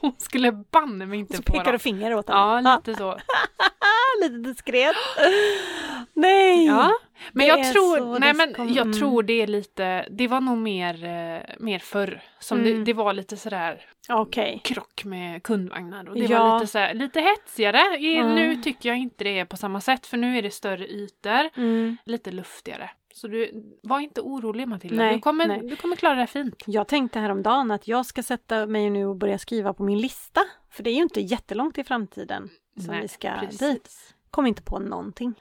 [SPEAKER 1] Hon skulle banne mig inte
[SPEAKER 2] Så
[SPEAKER 1] på
[SPEAKER 2] pekar du
[SPEAKER 1] dem.
[SPEAKER 2] finger åt
[SPEAKER 1] Ja,
[SPEAKER 2] henne.
[SPEAKER 1] lite så.
[SPEAKER 2] lite diskret. Nej!
[SPEAKER 1] Ja. Men,
[SPEAKER 2] Det
[SPEAKER 1] jag
[SPEAKER 2] är så
[SPEAKER 1] tror, nej,
[SPEAKER 2] det
[SPEAKER 1] men
[SPEAKER 2] kommer-
[SPEAKER 1] jag
[SPEAKER 2] mm.
[SPEAKER 1] tror det är lite, det var nog mer, eh, mer förr. Som
[SPEAKER 2] Mm.
[SPEAKER 1] det, det var lite sådär
[SPEAKER 2] Okej.
[SPEAKER 1] krock med kundvagnar och det
[SPEAKER 2] Ja.
[SPEAKER 1] var lite, sådär, lite hetsigare. I,
[SPEAKER 2] Mm.
[SPEAKER 1] Nu tycker jag inte det är på samma sätt för nu är det större ytor.
[SPEAKER 2] Mm.
[SPEAKER 1] lite luftigare. Så du, var inte orolig Matilda,
[SPEAKER 2] Nej,
[SPEAKER 1] du, kommer,
[SPEAKER 2] nej.
[SPEAKER 1] du kommer klara det här fint.
[SPEAKER 2] Jag tänkte häromdagen att jag ska sätta mig nu och börja skriva på min lista. För det är ju inte jättelångt i framtiden som
[SPEAKER 1] Nej,
[SPEAKER 2] vi ska
[SPEAKER 1] precis.
[SPEAKER 2] dit. Kom inte på någonting.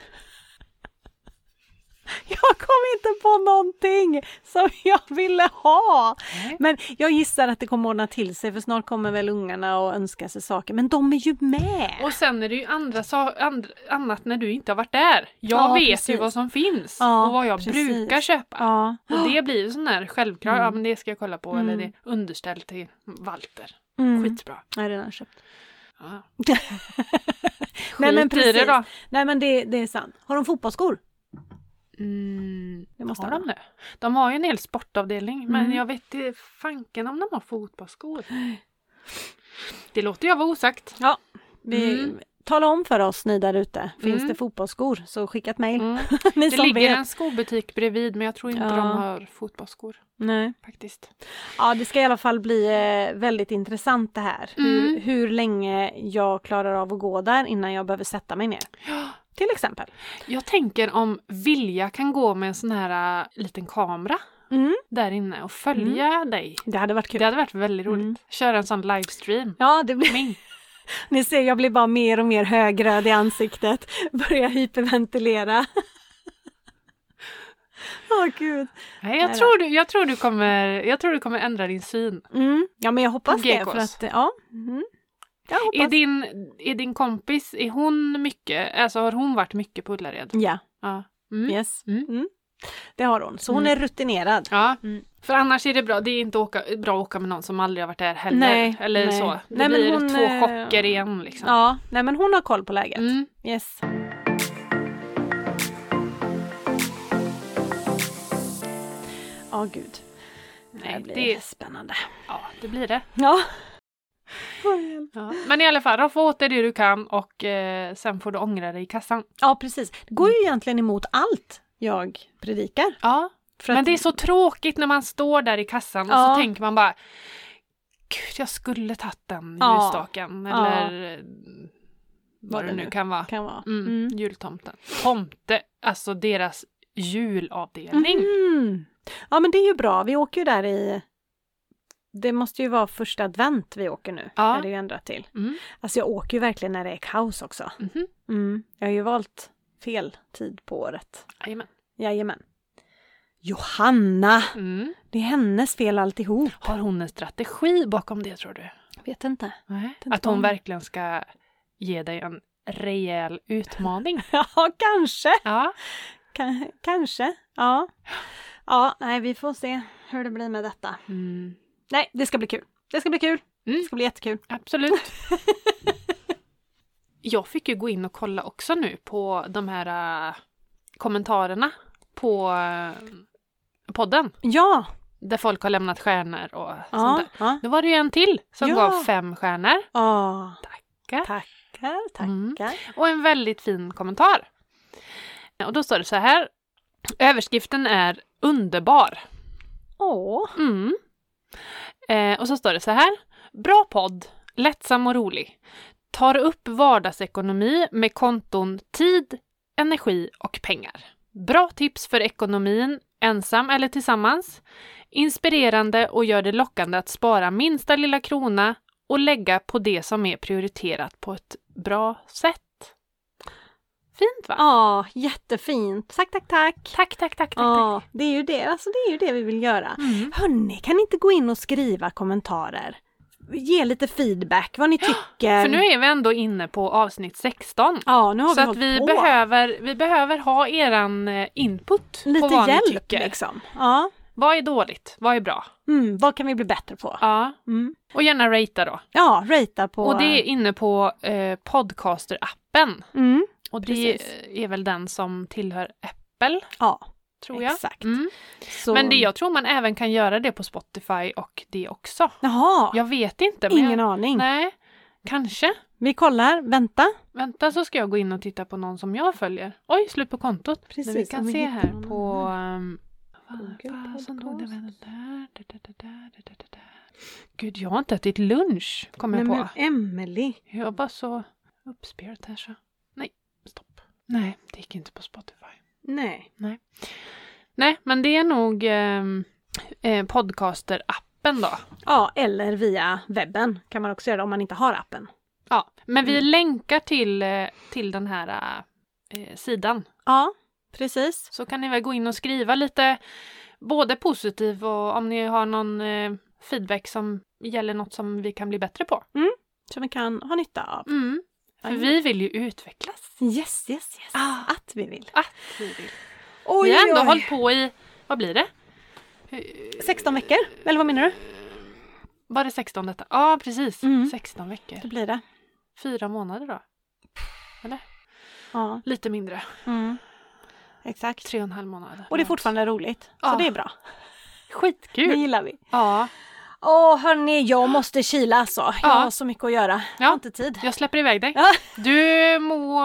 [SPEAKER 2] Jag kom inte på någonting som jag ville ha.
[SPEAKER 1] Nej.
[SPEAKER 2] Men jag gissar att det kommer ordna till sig för snart kommer väl ungarna och önska sig saker. Men de är ju med!
[SPEAKER 1] Och sen är det ju andra, sa- and, annat när du inte har varit där. Jag
[SPEAKER 2] Ja,
[SPEAKER 1] vet
[SPEAKER 2] precis.
[SPEAKER 1] ju vad som finns
[SPEAKER 2] Ja,
[SPEAKER 1] och vad jag
[SPEAKER 2] precis.
[SPEAKER 1] brukar köpa.
[SPEAKER 2] Ja.
[SPEAKER 1] Och det blir ju sån där självklar,
[SPEAKER 2] Mm.
[SPEAKER 1] ja men det ska jag kolla på, eller
[SPEAKER 2] Mm.
[SPEAKER 1] det underställt till Walter.
[SPEAKER 2] Mm.
[SPEAKER 1] Skitbra.
[SPEAKER 2] Jag har redan köpt.
[SPEAKER 1] Ja. Skit
[SPEAKER 2] Nej, men
[SPEAKER 1] i det
[SPEAKER 2] precis.
[SPEAKER 1] då.
[SPEAKER 2] Nej men det, det är sant. Har de fotbollsskor?
[SPEAKER 1] Mm,
[SPEAKER 2] Det måste
[SPEAKER 1] har
[SPEAKER 2] de.
[SPEAKER 1] de det? De har ju en hel sportavdelning men
[SPEAKER 2] Mm.
[SPEAKER 1] jag vet inte fanken om de har fotbollsskor. Det låter jag vara osagt.
[SPEAKER 2] Vi,
[SPEAKER 1] Mm.
[SPEAKER 2] Tala om för oss ni där ute, finns
[SPEAKER 1] Mm.
[SPEAKER 2] det fotbollsskor så skicka ett mejl.
[SPEAKER 1] Mm.
[SPEAKER 2] ni
[SPEAKER 1] Det
[SPEAKER 2] som
[SPEAKER 1] ligger
[SPEAKER 2] vet.
[SPEAKER 1] en skobutik bredvid men jag tror inte
[SPEAKER 2] Ja.
[SPEAKER 1] de har fotbollsskor
[SPEAKER 2] Nej.
[SPEAKER 1] faktiskt.
[SPEAKER 2] Ja, det ska i alla fall bli eh, väldigt intressant det här. Hur,
[SPEAKER 1] Mm.
[SPEAKER 2] hur länge jag klarar av att gå där innan jag behöver sätta mig ner. Till exempel.
[SPEAKER 1] Jag tänker om Vilja kan gå med en sån här äh, liten kamera
[SPEAKER 2] Mm.
[SPEAKER 1] där inne och följa dig.
[SPEAKER 2] Det hade varit Mm. kul.
[SPEAKER 1] Det hade varit väldigt roligt.
[SPEAKER 2] Mm.
[SPEAKER 1] Köra en sån livestream.
[SPEAKER 2] Ja, det blir,
[SPEAKER 1] Ming.
[SPEAKER 2] ni ser jag blir bara mer och mer högröd i ansiktet. Börjar hyperventilera. Åh gud.
[SPEAKER 1] Nej,
[SPEAKER 2] Nej
[SPEAKER 1] jag,
[SPEAKER 2] då.
[SPEAKER 1] tror du, jag, tror du kommer, jag tror du kommer ändra din syn.
[SPEAKER 2] Mm. Ja men jag hoppas det
[SPEAKER 1] GKs.
[SPEAKER 2] för att, eh, ja. Mm. Jag hoppas.
[SPEAKER 1] Är din, är din kompis, är hon mycket, alltså har hon varit mycket på Ullared?
[SPEAKER 2] Ja,
[SPEAKER 1] Ja. Mm.
[SPEAKER 2] yes.
[SPEAKER 1] Mm.
[SPEAKER 2] Mm. Det har hon. Så hon
[SPEAKER 1] Mm.
[SPEAKER 2] är rutinerad.
[SPEAKER 1] Ja,
[SPEAKER 2] Mm.
[SPEAKER 1] för annars är det bra. Det är inte åka, bra att åka med någon som aldrig har varit där heller.
[SPEAKER 2] Nej,
[SPEAKER 1] eller
[SPEAKER 2] nej.
[SPEAKER 1] så. Det
[SPEAKER 2] Nej, men
[SPEAKER 1] blir
[SPEAKER 2] hon,
[SPEAKER 1] två
[SPEAKER 2] eh,
[SPEAKER 1] chocker igen liksom.
[SPEAKER 2] Ja, nej men hon har koll på läget.
[SPEAKER 1] Mm.
[SPEAKER 2] Yes. Ja, gud. Det här
[SPEAKER 1] Nej,
[SPEAKER 2] blir
[SPEAKER 1] det,
[SPEAKER 2] spännande.
[SPEAKER 1] ja, det blir det.
[SPEAKER 2] Ja.
[SPEAKER 1] Ja. Men i alla fall, roffa åt dig det du kan och eh, sen får du ångra dig i kassan.
[SPEAKER 2] ja, precis. Det går ju
[SPEAKER 1] Mm.
[SPEAKER 2] egentligen emot allt jag predikar.
[SPEAKER 1] Ja,
[SPEAKER 2] För
[SPEAKER 1] men
[SPEAKER 2] att-
[SPEAKER 1] det är så tråkigt när man står där i kassan och
[SPEAKER 2] Ja.
[SPEAKER 1] så tänker man bara Gud, jag skulle tagit den
[SPEAKER 2] Ja.
[SPEAKER 1] ljusstaken
[SPEAKER 2] Ja.
[SPEAKER 1] eller eh, vad det nu kan vara.
[SPEAKER 2] kan vara.
[SPEAKER 1] Mm.
[SPEAKER 2] Mm.
[SPEAKER 1] Jultomten. Tomte, alltså deras julavdelning.
[SPEAKER 2] Mhm. Ja, men det är ju bra. Vi åker ju där i... Det måste ju vara första advent vi åker nu.
[SPEAKER 1] Ja.
[SPEAKER 2] Är det ju ändrat till.
[SPEAKER 1] Mm.
[SPEAKER 2] Alltså jag åker ju verkligen när det är kaos också.
[SPEAKER 1] Mhm.
[SPEAKER 2] Mm. Jag har ju valt fel tid på året.
[SPEAKER 1] Jajamän.
[SPEAKER 2] Jajamän. Johanna!
[SPEAKER 1] Mm.
[SPEAKER 2] Det är hennes fel alltihop.
[SPEAKER 1] Har hon en strategi bakom det tror du?
[SPEAKER 2] Jag vet inte.
[SPEAKER 1] Att hon
[SPEAKER 2] om-
[SPEAKER 1] verkligen ska ge dig en rejäl utmaning?
[SPEAKER 2] Ja, kanske.
[SPEAKER 1] Ja.
[SPEAKER 2] Ka- kanske. Ja. Ja, nej, vi får se hur det blir med detta.
[SPEAKER 1] Mm.
[SPEAKER 2] Nej, det ska bli kul. Det ska bli kul.
[SPEAKER 1] Mm.
[SPEAKER 2] Det ska bli jättekul.
[SPEAKER 1] Absolut. Jag fick ju gå in och kolla också nu på de här äh, kommentarerna på äh, podden
[SPEAKER 2] Ja!
[SPEAKER 1] där folk har lämnat stjärnor och sånt
[SPEAKER 2] Ja.
[SPEAKER 1] där.
[SPEAKER 2] ja.
[SPEAKER 1] Då var det ju en till som
[SPEAKER 2] Ja.
[SPEAKER 1] gav fem stjärnor
[SPEAKER 2] Åh,
[SPEAKER 1] Tackar.
[SPEAKER 2] Tackar, tackar.
[SPEAKER 1] Mm. och en väldigt fin kommentar. Och då står det så här. Överskriften är underbar.
[SPEAKER 2] Åh,
[SPEAKER 1] Mm. Eh, och så står det så här. Bra podd, lättsam och rolig. Tar upp vardagsekonomi med konton tid, energi och pengar. Bra tips för ekonomin, ensam eller tillsammans. Inspirerande och gör det lockande att spara minsta lilla krona och lägga på det som är prioriterat på ett bra sätt. Fint va?
[SPEAKER 2] ja, jättefint. Tack, tack, tack.
[SPEAKER 1] Tack, tack, tack, tack.
[SPEAKER 2] Ja, det är ju det, alltså det är ju det vi vill göra.
[SPEAKER 1] tack. Mm.
[SPEAKER 2] Hörni, kan ni inte gå in och skriva kommentarer? Ge lite feedback, vad ni tycker.
[SPEAKER 1] För nu är vi ändå inne på avsnitt 16.
[SPEAKER 2] Ja, nu har
[SPEAKER 1] Så
[SPEAKER 2] vi
[SPEAKER 1] att
[SPEAKER 2] hållit
[SPEAKER 1] vi
[SPEAKER 2] på.
[SPEAKER 1] behöver, vi behöver ha eran eh, input på
[SPEAKER 2] lite
[SPEAKER 1] vad ni
[SPEAKER 2] hjälp
[SPEAKER 1] tycker.
[SPEAKER 2] liksom. Ja.
[SPEAKER 1] Vad är dåligt? Vad är bra?
[SPEAKER 2] Mm, vad kan vi bli bättre på?
[SPEAKER 1] Ja.
[SPEAKER 2] Mm.
[SPEAKER 1] Och gärna ratea då.
[SPEAKER 2] Ja, ratea på...
[SPEAKER 1] Och det är inne på eh, Podcaster-appen.
[SPEAKER 2] Mm.
[SPEAKER 1] Och
[SPEAKER 2] Precis.
[SPEAKER 1] det är väl den som tillhör Apple,
[SPEAKER 2] Ja,
[SPEAKER 1] tror jag.
[SPEAKER 2] exakt.
[SPEAKER 1] Mm.
[SPEAKER 2] Så...
[SPEAKER 1] Men det, jag tror man även kan göra det på Spotify och det också.
[SPEAKER 2] Jaha,
[SPEAKER 1] Jag vet inte. Men
[SPEAKER 2] ingen
[SPEAKER 1] jag...
[SPEAKER 2] aning.
[SPEAKER 1] Nej, kanske.
[SPEAKER 2] Vi kollar, vänta.
[SPEAKER 1] Vänta så ska jag gå in och titta på någon som jag följer. Oj, slut på kontot.
[SPEAKER 2] Precis,
[SPEAKER 1] Men vi kan
[SPEAKER 2] om vi
[SPEAKER 1] se
[SPEAKER 2] hittar
[SPEAKER 1] här
[SPEAKER 2] någon
[SPEAKER 1] på... ehm,
[SPEAKER 2] Google
[SPEAKER 1] vad fasen låg det
[SPEAKER 2] Podcast.
[SPEAKER 1] med det där, det där, det där, det där, det där. Gud, jag har inte ätit lunch, kom jag
[SPEAKER 2] Nej,
[SPEAKER 1] på.
[SPEAKER 2] men Emelie.
[SPEAKER 1] Jag var så uppspelt här så. Nej, stopp. Nej, det gick inte på Spotify.
[SPEAKER 2] Nej.
[SPEAKER 1] Nej, men det är nog ehm, eh, podcaster-appen då.
[SPEAKER 2] Ja, eller via webben kan man också göra det om man inte har appen.
[SPEAKER 1] Ja, men vi
[SPEAKER 2] Mm.
[SPEAKER 1] länkar till, eh, till den här eh, sidan.
[SPEAKER 2] Ja, precis.
[SPEAKER 1] så kan ni väl gå in och skriva lite både positiv och om ni har någon eh, feedback som gäller något som vi kan bli bättre på.
[SPEAKER 2] Som vi kan ha nytta av.
[SPEAKER 1] Mm. För
[SPEAKER 2] Jajamän.
[SPEAKER 1] vi vill ju utvecklas.
[SPEAKER 2] Yes, yes, yes. Att vi vill.
[SPEAKER 1] Att vi vill.
[SPEAKER 2] Oj,
[SPEAKER 1] Vi har ändå hållit på i, vad blir det? Eh,
[SPEAKER 2] 16 veckor, eller vad menar du?
[SPEAKER 1] Var det 16 detta? Ja, precis.
[SPEAKER 2] Mm.
[SPEAKER 1] 16 veckor.
[SPEAKER 2] Det blir det.
[SPEAKER 1] Fyra månader då?
[SPEAKER 2] Ja,
[SPEAKER 1] Lite mindre.
[SPEAKER 2] Mm. exakt.
[SPEAKER 1] Tre och en halv månad.
[SPEAKER 2] Och det är fortfarande roligt.
[SPEAKER 1] Ja.
[SPEAKER 2] Så det är bra.
[SPEAKER 1] skitkul.
[SPEAKER 2] Det gillar vi.
[SPEAKER 1] Ja.
[SPEAKER 2] Åh hörni, jag måste kila alltså. Jag
[SPEAKER 1] Ja.
[SPEAKER 2] har så mycket att göra. Jag har
[SPEAKER 1] Ja.
[SPEAKER 2] inte tid.
[SPEAKER 1] Jag släpper iväg dig.
[SPEAKER 2] Ja.
[SPEAKER 1] Du må,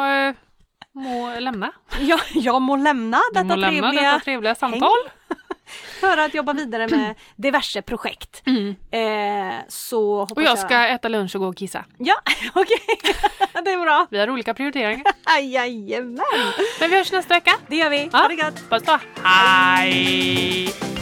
[SPEAKER 1] må lämna.
[SPEAKER 2] Jag, jag må lämna
[SPEAKER 1] Du
[SPEAKER 2] detta
[SPEAKER 1] må lämna
[SPEAKER 2] trevliga
[SPEAKER 1] detta trevliga samtal.
[SPEAKER 2] för att jobba vidare med diverse projekt.
[SPEAKER 1] Mm.
[SPEAKER 2] Eh, så hoppas
[SPEAKER 1] Och jag ska äta lunch och gå och kissa.
[SPEAKER 2] Ja, okej. det är bra.
[SPEAKER 1] Vi har olika prioriteringar.
[SPEAKER 2] Aj, Jajamän!
[SPEAKER 1] Men vi hörs nästa vecka.
[SPEAKER 2] Det gör vi.
[SPEAKER 1] Ja.
[SPEAKER 2] Ha det gött!
[SPEAKER 1] Puss då! Hej!